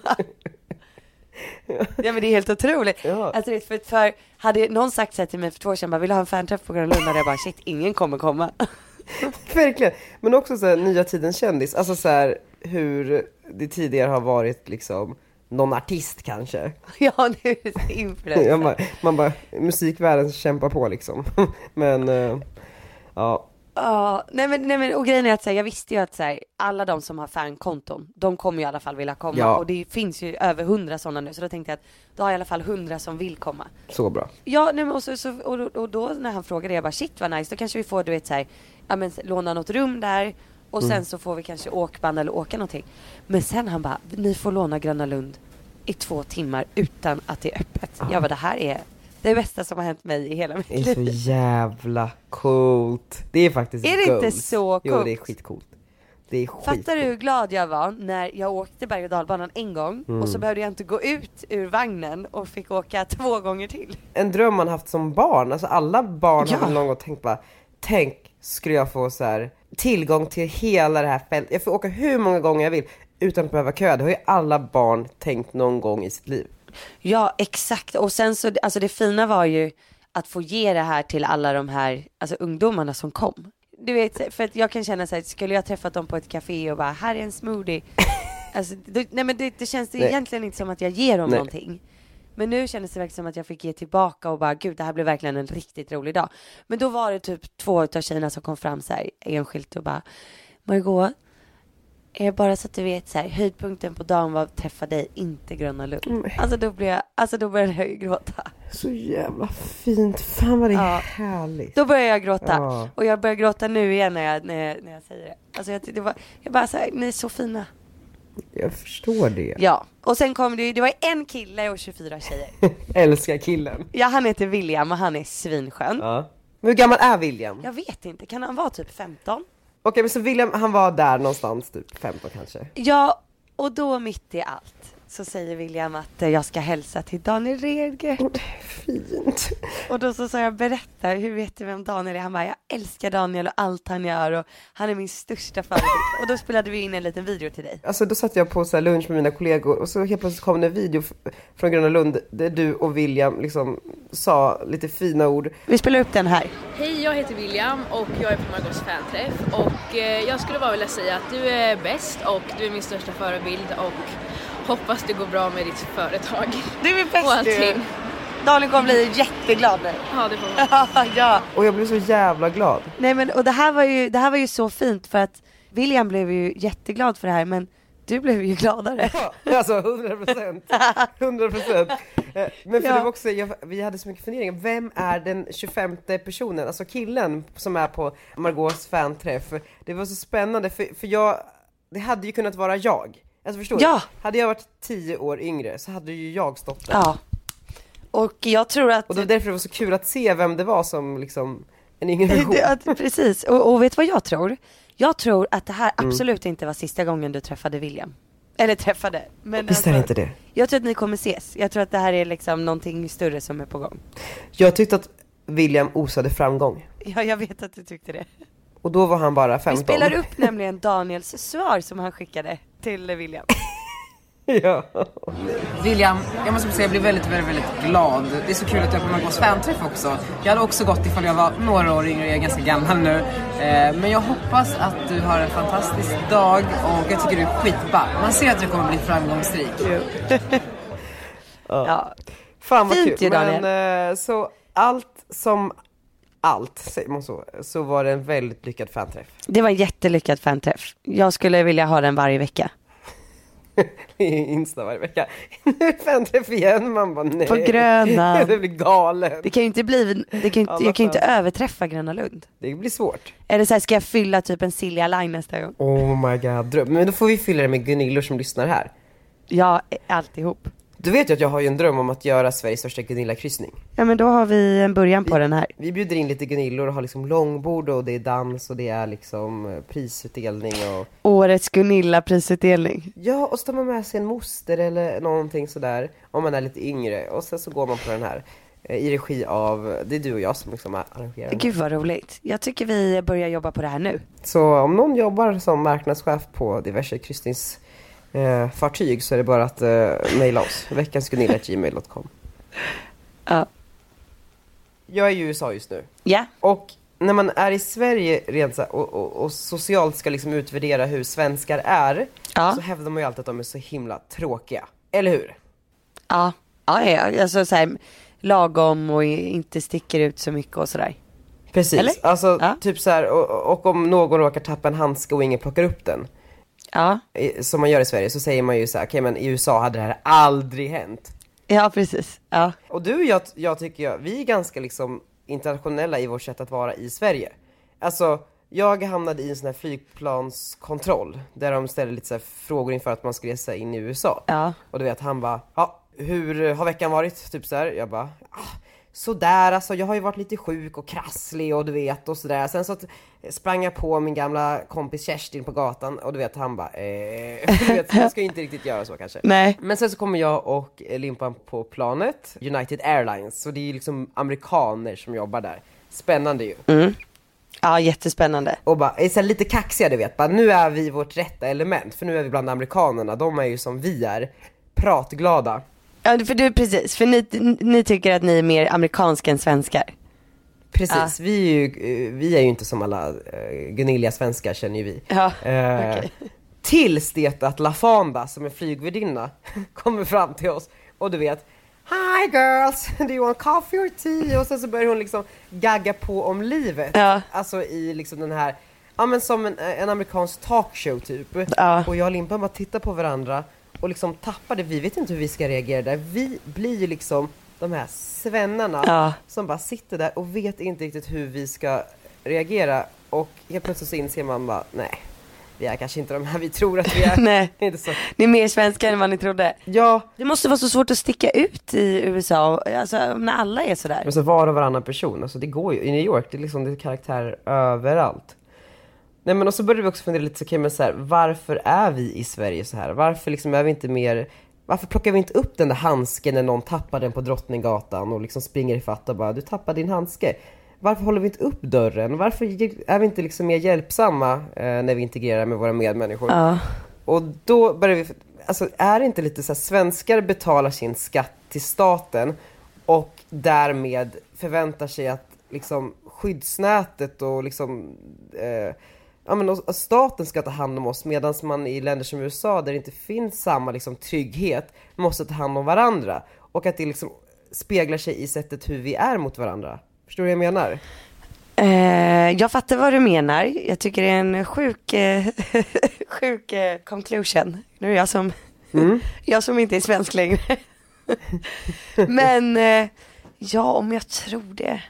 S2: Ja men det är helt otroligt.
S3: Ja.
S2: Alltså, du vet, för, för hade någon sagt så här till mig för två år sedan, bara, vill du ha en fanträff på Gröna Lund? Hade jag bara shit, ingen kommer komma. [LAUGHS]
S3: [LAUGHS] Verkligen. Men också så här, nya tidens kändis, alltså så här, hur det tidigare har varit liksom någon artist kanske. [LAUGHS]
S2: Ja nu är det så influencer.
S3: Ja, man, man bara, musikvärlden kämpar på liksom. [LAUGHS] Men, eh, ja.
S2: Ja, nej men, nej men och grejen är att så här, jag visste ju att så här, alla de som har fankonton, de kommer ju i alla fall vilja komma.
S3: Ja.
S2: Och det finns ju över hundra sådana nu, så då tänkte jag att då har jag i alla fall hundra som vill komma.
S3: Så bra.
S2: Ja, nej men och, så, så, och, då- och då när han frågade, jag bara shit vad nice, då kanske vi får du vet så här, ja men låna något rum där och
S3: Mm.
S2: sen så får vi kanske åkband eller åka någonting. Men sen han bara, ni får låna Gröna Lund i två timmar utan att det är öppet. Jag bara, det här är det bästa som har hänt mig i hela mitt
S3: Det är
S2: liv.
S3: så jävla coolt. Det är faktiskt
S2: Är det inte
S3: goals.
S2: så
S3: Jo, det är
S2: coolt?
S3: skitcoolt. Det är skitcoolt.
S2: Fattar du hur glad jag var när jag åkte berg och dalbanan en gång och så behövde jag inte gå ut ur vagnen och fick åka två gånger till.
S3: en dröm man haft som barn. Alltså alla barn
S2: Ja.
S3: har väl någon gång tänkt bara, tänk skulle jag få så här tillgång till hela det här fältet. Jag får åka hur många gånger jag vill utan att behöva köa. Det har ju alla barn tänkt någon gång i sitt liv.
S2: Ja exakt och sen så, alltså det fina var ju att få ge det här till alla de här, alltså ungdomarna som kom. Du vet, för att jag kan känna så här, skulle jag träffat dem på ett café och bara här är en
S3: [LAUGHS]
S2: smoothie. Alltså, det, nej men det, det känns det
S3: Nej.
S2: egentligen inte som att jag ger dem
S3: Nej.
S2: någonting. Men nu kändes det verkligen som att jag fick ge tillbaka och bara gud det här blev verkligen en riktigt rolig dag. Men då var det typ två utav tjejerna som kom fram så här enskilt och bara Margot, eh, bara så att du vet så här höjdpunkten på dagen var att träffa dig, inte Gröna Lund.
S3: Mm.
S2: Alltså då blev jag, alltså då började jag ju gråta.
S3: Så jävla fint. Fan vad det är
S2: Ja.
S3: härligt.
S2: Då började jag gråta.
S3: Ja.
S2: Och jag börjar gråta nu igen när jag, när jag, när jag säger det. Alltså jag, det var, jag bara så här, ni är så fina.
S3: Jag förstår det.
S2: Ja, och sen kom det ju, det var en kille och 24 tjejer.
S3: [LAUGHS] Älskar killen.
S2: Ja, han heter William och han är svinskön.
S3: Ja. Men hur gammal är William?
S2: Jag vet inte, kan han vara typ 15?
S3: Okej men så William han var där någonstans typ 15 kanske.
S2: Ja, och då mitt i allt så säger William att eh, jag ska hälsa till Daniel Redgert.
S3: Fint.
S2: Och då så sa jag berätta, hur vet du vem Daniel är? Han bara, jag älskar Daniel och allt han gör och han är min största förebild. [LAUGHS] Och då spelade vi in en liten video till dig.
S3: Alltså då satt jag på så här lunch med mina kollegor och så helt plötsligt kom det en video f- från Gröna Lund där du och William liksom sa lite fina ord.
S2: Vi spelar upp den här.
S6: Hej, jag heter William och jag är på Margots fanträff och eh, jag skulle bara vilja säga att du är bäst och du är min största förebild och hoppas det går bra med ditt företag.
S2: Du är
S6: och
S2: bäst du!
S6: allting.
S2: Daniel kommer bli jätteglad nu.
S6: Ja, det får man.
S2: [LAUGHS] ja.
S3: Och jag blev så jävla glad.
S2: Nej men och det här var ju, det här var ju så fint för att William blev ju jätteglad för det här men du blev ju [LAUGHS] gladare.
S3: Alltså 100 procent. 100 procent. Eh, Men för
S2: Ja.
S3: det var också, jag, vi hade så mycket funderingar. Vem är den 25 personen? Alltså killen som är på Margaux fanträff. Det var så spännande för, för jag, det hade ju kunnat vara jag. Alltså förstår
S2: Ja.
S3: du? Hade jag varit 10 år yngre så hade ju jag stått där.
S2: Ja. Och jag tror att,
S3: Och det var därför det var så kul att se vem det var som liksom en yngre version.
S2: att precis, och, och vet vad jag tror? Jag tror att det här absolut inte var sista gången du träffade William. Eller träffade, men alltså,
S3: Visst är det inte det?
S2: jag tror att ni kommer ses. Jag tror att det här är liksom någonting större som är på gång.
S3: Jag tyckte att William osade framgång.
S2: Ja, jag vet att du tyckte det.
S3: Och då var han bara 15.
S2: Vi spelar upp nämligen Daniels svar som han skickade till William.
S3: [LAUGHS] Ja.
S7: William, jag måste säga jag blev väldigt, väldigt, väldigt glad. Det är så kul att jag kommer att gå svanträff också. Jag hade också gått ifall jag var några år yngre, jag är ganska gammal nu. Eh, Men jag hoppas att du har en fantastisk dag och jag tycker du är skitball. Man ser att du kommer bli framgångsrik. [LAUGHS]
S2: Ja.
S3: Fan vad
S2: Fint
S3: kul.
S2: ju, Daniel.
S3: Men eh, så allt som allt, säger man så, så var det en väldigt lyckad fanträff.
S2: Det var en jättelyckad fanträff. Jag skulle vilja ha den varje vecka.
S3: [LAUGHS] Det är Insta varje vecka. [LAUGHS] Nu är fanträff igen, man bara nej.
S2: På Grönan.
S3: [LAUGHS] Det blir galen.
S2: Det kan ju inte bli, det kan ju inte,
S3: Alla
S2: jag kan ju inte
S3: fans.
S2: överträffa Gröna Lund.
S3: Det blir svårt.
S2: Eller så här, ska jag fylla typ en Silja Line nästa gång?
S3: Oh my god, dröm. Men då får vi fylla det med Gunillor som lyssnar här.
S2: Ja, eh, alltihop.
S3: Du vet ju att jag har ju en dröm om att göra Sveriges största Gunilla-kryssning.
S2: Ja men då har vi en början på den här.
S3: Vi bjuder in lite Gunillor och har liksom långbord och det är dans och det är liksom eh, prisutdelning och
S2: Årets Gunilla-prisutdelning.
S3: Ja, och så tar man med sig en moster eller någonting sådär om man är lite yngre och sen så går man på den här eh, i regi av, det är du och jag som liksom arrangerar den.
S2: Gud vad roligt. Jag tycker vi börjar jobba på det här nu.
S3: Så om någon jobbar som marknadschef på diverse kryssningsfartyg eh, fartyg så är det bara att eh, mejla oss, veckansgunilla.gmail.com
S2: Ja.
S3: Jag är i USA just nu
S2: Ja.
S3: och när man är i Sverige rent så här, och, och, och socialt ska liksom utvärdera hur svenskar är
S2: Ja.
S3: så hävdar man ju alltid att de är så himla tråkiga, eller hur?
S2: Ja. Ja, ja, ja. Alltså så här, lagom och i- inte sticker ut så mycket och sådär.
S3: Precis,
S2: Eller?
S3: alltså
S2: Ja.
S3: typ så här, och, och om någon råkar tappa en handske och ingen plockar upp den,
S2: Ja.
S3: eh, som man gör i Sverige, så säger man ju så här, okej men i USA hade det här aldrig hänt.
S2: Ja precis. Ja.
S3: Och du och jag, jag tycker jag, vi är ganska liksom internationella i vårt sätt att vara i Sverige. Alltså, jag hamnade i en sån här flygplanskontroll, där de ställer lite så här frågor inför att man ska resa in i USA.
S2: Ja.
S3: Och du vet, han bara, ja, hur har veckan varit? Typ så här. Jag bara, ah, sådär alltså, jag har ju varit lite sjuk och krasslig och du vet och sådär. Sen så att- eh, sprang jag på min gamla kompis Kerstin på gatan och du vet, han bara, eh, [LAUGHS] du vet, jag ska ju inte riktigt göra så kanske.
S2: Nej.
S3: Men sen så kommer jag och eh, Limpan på planet, United Airlines, så det är ju liksom amerikaner som jobbar där. Spännande ju.
S2: Ja jättespännande.
S3: Och bara, är så här lite kaxiga du vet, bara, nu är vi vårt rätta element, för nu är vi bland amerikanerna, de är ju som vi är, pratglada.
S2: Ja för du precis, för ni, ni tycker att ni är mer amerikanska än svenskar.
S3: Precis, vi, är ju, eh, vi är ju inte som alla eh, Gunilla-svenskar känner ju vi.
S2: Ja,
S3: Eh, Tills det att Lafanda som är flygvärdinna [LAUGHS] kommer fram till oss och du vet Hi girls, [LAUGHS] do you want coffee or tea? Och sen så börjar hon liksom gagga på om livet.
S2: Ja.
S3: Alltså i liksom den här, ja men som en, en amerikansk talkshow typ.
S2: Ja.
S3: Och jag och Limpan bara tittar på varandra och liksom tappade, vi vet inte hur vi ska reagera där. Vi blir ju liksom de här svennarna
S2: Ja.
S3: som bara sitter där och vet inte riktigt hur vi ska reagera och helt plötsligt så inser man bara, nej, vi är kanske inte de här vi tror att vi
S2: [LAUGHS]
S3: är.
S2: Nej.
S3: Det är inte så.
S2: Ni är mer svenskar än vad ni trodde.
S3: Ja,
S2: Det måste vara så svårt att sticka ut i USA, alltså när alla är sådär.
S3: men så var och varannan person, alltså det går ju. I New York, det är liksom det är karaktärer överallt. Nej men och så började vi också fundera lite, så, okay, men så här, varför är vi i Sverige så här? Varför liksom är vi inte mer, varför plockar vi inte upp den där handsken när någon tappar den på Drottninggatan och liksom springer ifatt och bara, du tappade din handske. Varför håller vi inte upp dörren? Varför är vi inte liksom mer hjälpsamma eh, när vi integrerar med våra medmänniskor?
S2: Ja.
S3: Och då börjar vi, alltså är det inte lite så här, svenskar betalar sin skatt till staten och därmed förväntar sig att liksom skyddsnätet och liksom, eh, ja men och- och staten ska ta hand om oss medan man i länder som USA där det inte finns samma liksom trygghet måste ta hand om varandra. Och att det liksom speglar sig i sättet hur vi är mot varandra. Förstår du vad jag menar?
S2: Eh, jag fattar vad du menar. Jag tycker det är en sjuk, eh, [LAUGHS] sjuk eh, conclusion. Nu är jag som,
S3: Mm.
S2: [LAUGHS] jag som inte är svensk längre. [LAUGHS] Men eh, ja, om jag tror det.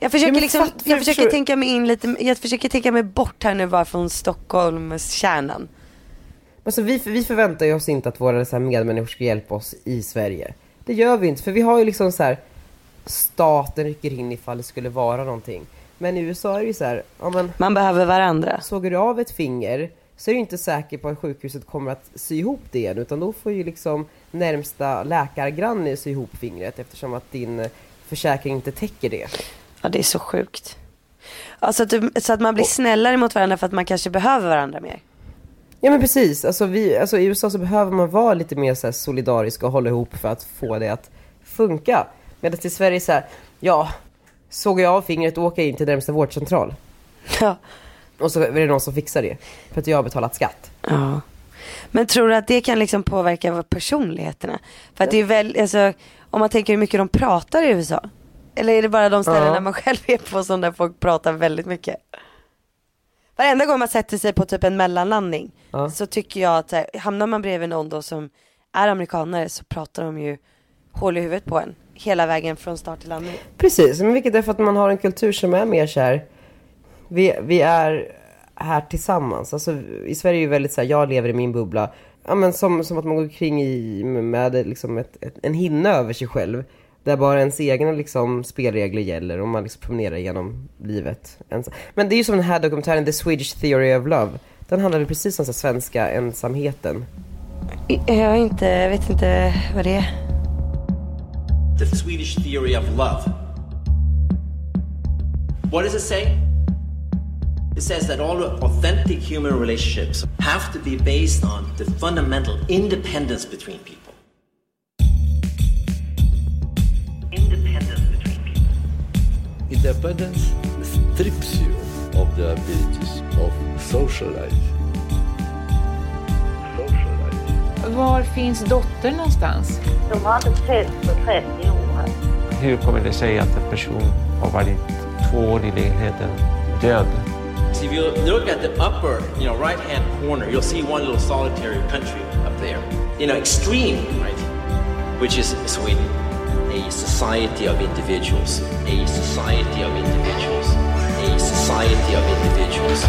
S2: Jag försöker,
S3: Ja, men
S2: liksom,
S3: fattar
S2: jag
S3: du-
S2: försöker
S3: förstår-
S2: tänka mig in lite, jag försöker tänka mig bort här nu bara från Stockholms kärnan.
S3: Alltså vi, vi förväntar ju oss inte att våra så här, medmänniskor ska hjälpa oss i Sverige. Det gör vi inte, för vi har ju liksom så här staten rycker in ifall det skulle vara någonting. Men i USA är det ju så här, ja men
S2: Man behöver varandra.
S3: såg du av ett finger så är du inte säker på att sjukhuset kommer att sy ihop det igen utan då får ju liksom närmsta läkargranne sy ihop fingret eftersom att din eh, försäkring inte täcker det.
S2: Ja, det är så sjukt. Alltså, att du- så att man blir snällare mot varandra för att man kanske behöver varandra mer. [LAUGHS]
S3: Ja men precis, alltså, vi, alltså, i USA så behöver man vara lite mer så här, solidarisk och hålla ihop för att få det att funka. Medan i Sverige så här, ja, såg jag av fingret och åker in till närmsta vårdcentral.
S2: Ja.
S3: Och så är det någon som fixar det, för att jag har betalat skatt.
S2: Ja. Men tror du att det kan liksom påverka vad personligheterna? För att det är väl, alltså, om man tänker hur mycket de pratar i USA. Eller är det bara de ställen
S3: Ja.
S2: där man själv är på som där folk pratar väldigt mycket? Varenda gång man sätter sig på typ en mellanlandning
S3: Ja.
S2: så tycker jag att så här, hamnar man bredvid någon då som är amerikanare så pratar de ju hål i huvudet på en hela vägen från start till landning.
S3: Precis, men vilket är för att man har en kultur som är mer så här, vi, vi är här tillsammans. Alltså, I Sverige är det väldigt så här, jag lever i min bubbla. Ja, men som, som att man går kring i, med liksom ett, ett, en hinna över sig själv. Där bara ens egna liksom, spelregler gäller och man liksom promenerar genom livet. ens- Men det är ju som den här dokumentären The Swedish Theory of Love. Den handlade precis om så här, svenska ensamheten.
S2: I- Jag, har inte, jag vet inte vad det är.
S8: The Swedish theory of love. What does it say? It says that all authentic human relationships have to be based on the fundamental independence between people. Independence between people.
S9: Independence strips you of the abilities of social life. Social life.
S10: Var finns dottern någonstans?
S11: De har inte setts på 30 år.
S12: Hur kommer det sig att en person har varit två år i ledigheten död?
S8: So if you look at the upper, you know, right-hand corner, you'll see one little solitary country up there. You know, extreme, right? Which is Sweden. A society of individuals. A society of individuals. A society of individuals.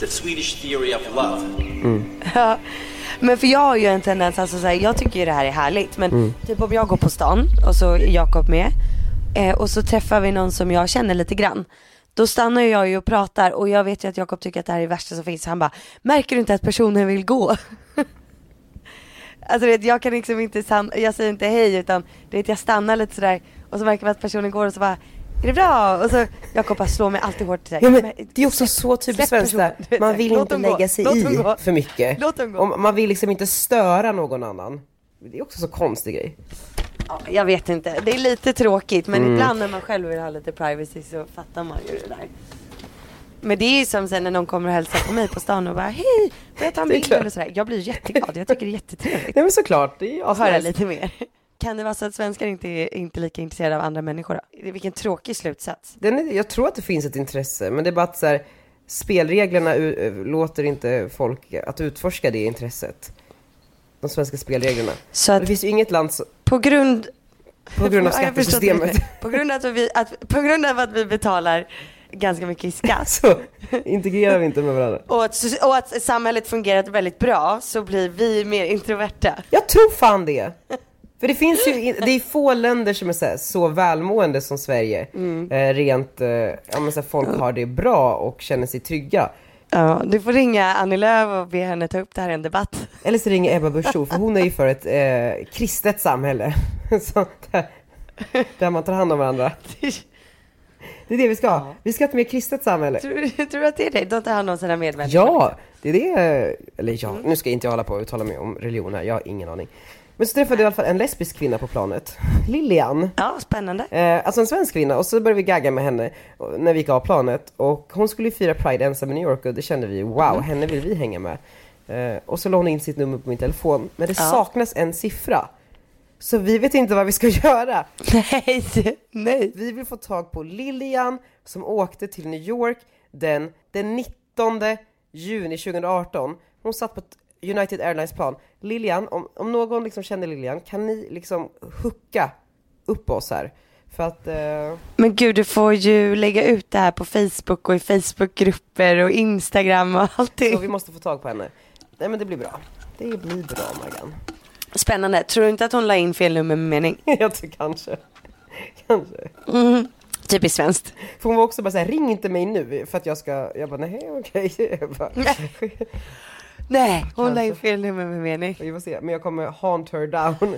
S8: The Swedish theory of love.
S2: Ja. Men för jag har ju en tendens, alltså så här, jag tycker ju det här är härligt men
S8: Mm.
S2: typ om jag går på stan och så är Jakob med eh, och så träffar vi någon som jag känner lite grann. Då stannar ju jag ju och pratar och jag vet ju att Jakob tycker att det här är det värsta som finns. Han bara, märker du inte att personen vill gå? [LAUGHS] alltså vet, jag kan liksom inte, san- jag säger inte hej utan du vet, jag stannar lite sådär och så märker man att personen går och så bara, är det bra? Och så Jakob bara slår mig alltid hårt. så här,
S3: Ja, men
S2: "Men
S3: det är också så
S2: släpp
S3: typiskt svenskt där.
S2: personen, du vet,
S3: Man
S2: så här,
S3: vill
S2: låt
S3: inte
S2: dem gå,
S3: lägga sig
S2: låt
S3: i
S2: dem gå.
S3: för mycket.
S2: Låt dem gå.
S3: Och man vill liksom inte störa någon annan. Det är också så konstig grej.
S2: Ja, jag vet inte, det är lite tråkigt men
S3: Mm.
S2: ibland när man själv vill ha lite privacy så fattar man ju det där. Men det är ju som sen när någon kommer och hälsar på mig på stan och bara hej, får jag ta en
S3: [LAUGHS] Det är
S2: bild
S3: klart.
S2: eller sådär. Jag blir jätteglad, jag tycker det är jättetrevligt.
S3: Nej men såklart, [LAUGHS] det är ju
S2: Och höra
S3: asnice.
S2: lite mer. Kan det vara så att svenskar inte är inte lika intresserade av andra människor? då? Vilken tråkig slutsats.
S3: Den är, jag tror att det finns ett intresse, men det är bara att så här, spelreglerna u- ö- låter inte folk att utforska det intresset. De svenska spelreglerna.
S2: Så
S3: det finns ju inget land som...
S2: På grund...
S3: På grund av
S2: [LAUGHS] Ja, jag förstår
S3: skattesystemet.
S2: inte. På grund av att vi, att, på grund av att vi betalar ganska mycket i skatt.
S3: [LAUGHS] [LAUGHS] Så integrerar vi inte med varandra.
S2: Och att, och att samhället fungerar väldigt bra så blir vi mer introverta.
S3: Jag tror fan det. För det finns ju, in- det är få länder som är så, här, så välmående som Sverige. Eh, rent, eh, ja men så här, folk har det bra och känner sig trygga.
S2: Ja, du får ringa Annie Lööf och be henne ta upp det här i en debatt.
S3: Eller så ringer Ebba Busch Thor, för hon är ju för ett eh, kristet samhälle. [LAUGHS] Så där, där man tar hand om varandra. Det är det vi ska ha. Vi ska ha ett mer kristet
S2: [LAUGHS]
S3: samhälle.
S2: Tror, tror du att det är det? De tar hand om sina medmänniskor.
S3: Ja, det är det. Eller ja, nu ska jag inte hålla på och uttala mig om religion här. Jag har ingen aning. Men så träffade jag i alla fall en lesbisk kvinna på planet. Lilian.
S2: Ja, spännande.
S3: Eh, alltså en svensk kvinna. Och så började vi gagga med henne och- när vi gick av planet. Och hon skulle ju fira Pride ensam i New York och det kände vi, wow, henne vill vi hänga med. Eh, och så la hon in sitt nummer på min telefon. Men det
S2: Ja.
S3: saknas en siffra. Så vi vet inte vad vi ska [LAUGHS] göra.
S2: [LAUGHS] Nej, nej.
S3: Vi vill få tag på Lilian som åkte till New York den, den 19 juni 2018. Hon satt på ett United Airlines plan. Lilian, om, om någon liksom känner Lilian, kan ni liksom hucka upp oss här? För att... Eh...
S2: Men gud, du får ju lägga ut det här på Facebook och i Facebookgrupper och Instagram och allting.
S3: Så vi måste få tag på henne. Nej men det blir bra. Det blir bra Maggan.
S2: Spännande. Tror du inte att hon la in fel nummer med mening?
S3: [LAUGHS] Jag tror kanske. Kanske.
S2: Mm, typiskt svenskt.
S3: För hon var också bara såhär, ring inte mig nu för att jag ska, jag bara nej okej. [LAUGHS] Jag bara,
S2: Nej, hon la in
S3: Kanske.
S2: fel nummer med mening.
S3: Vi får se, men jag kommer haunt her down.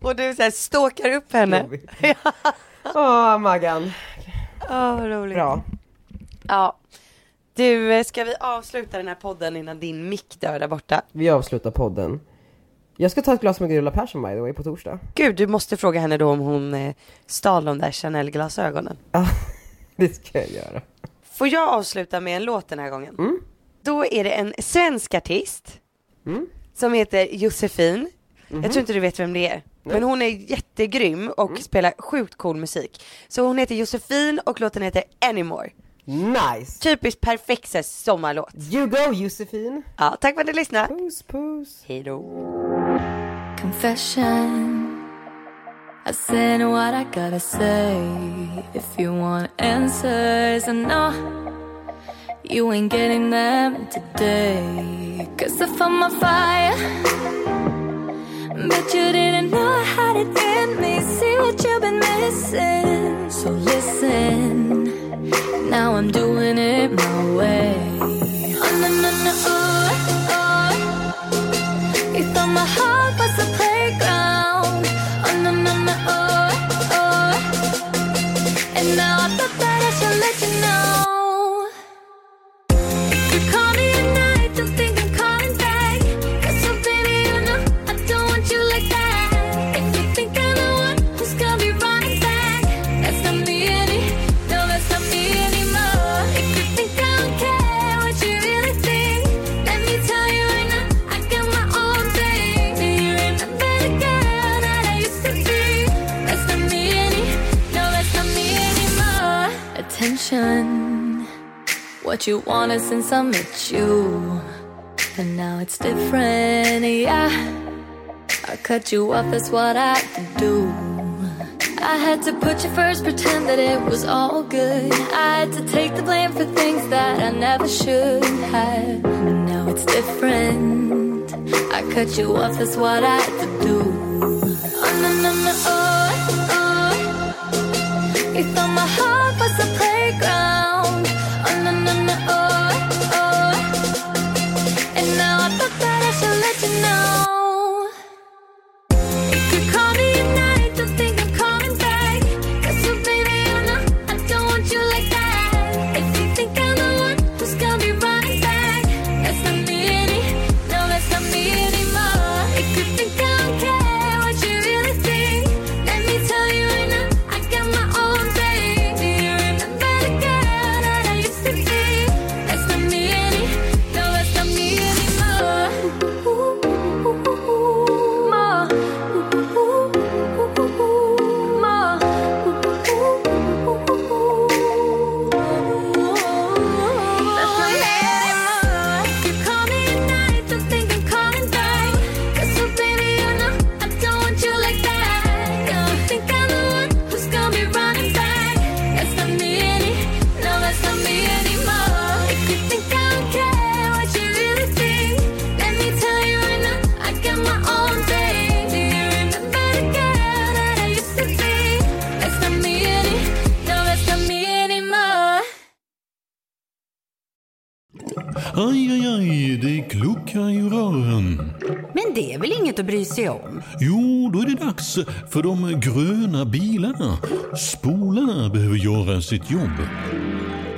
S2: Och du så här stalkar upp henne.
S3: Jobbigt. Åh Maggan.
S2: Åh, vad roligt.
S3: Bra.
S2: Ja. Du, eh, ska vi avsluta den här podden innan din mick dör där borta?
S3: Vi avslutar podden. Jag ska ta ett glas med Gunilla Persson by the way på torsdag.
S2: Gud, du måste fråga henne då om hon eh, stal de där Chanel-glasögonen.
S3: Det ska jag göra.
S2: Får jag avsluta med en låt den här gången? Då är det en svensk artist som heter Josefin. Jag tror inte du vet vem det är. Men hon är jättegrym och spelar sjukt cool musik. Så hon heter Josefin och låten heter Anymore.
S3: Nice!
S2: Typiskt perfekt så här sommarlåt.
S3: You go Josefin!
S2: Ja, tack för att ni lyssnade.
S3: Puss puss!
S2: Hejdå.
S13: Confession. I said what I gotta say. If you want answers, and no, you ain't getting them today. Cause I found my fire. But you didn't know I had it in me. See what you've been missing. So listen. Now I'm doing it my way. Oh, no, no, no, ooh, oh. You thought my heart was a playground. Oh, no, no, no, oh, oh. And now I thought that I should let you know. You call me at night, don't think I'm calling back. Cause so baby, you know I don't want you like that. If you think I'm the one who's gonna be running back, that's not me any, no, that's not me anymore. If you think I don't care what you really think, let me tell you right now, I got my own thing. Do you remember the girl that I used to be? That's not me any, no, that's not me anymore. Attention. What you wanted since I met you. And now it's different, yeah. I cut you off, that's what I do. I had to put you first, pretend that it was all good. I had to take the blame for things that I never should have. And now it's different. I cut you off, that's what I do. Oh, no, no, no, oh, oh. You thought my heart was a playground. Oh, no, no, no, oh, oh. And now I thought that I should let you know. You call me at night, don't think I'm calling back. Cause so baby, you know I don't want you like that. If you think I'm the one who's gonna be running back, that's not me any, no, that's not me anymore. If you think I don't care what you really think, let me tell you right now, I got my own thing. Do you remember the girl that I used to be? That's not me any, no, that's not me anymore. More. Let me tell you right now, I got my own thing. Do you remember the girl that I used to be? That's not me any, no, that's not me anymore.
S14: Aj, aj, aj, det kluckar i rören.
S15: Men det är väl inget att bry sig om?
S14: Jo, då är det dags för de gröna bilarna. Spolarna behöver göra sitt jobb.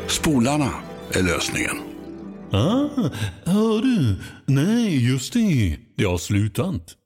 S16: Spolarna är lösningen.
S14: Ah, hör du? Nej, just det. Det har slutat.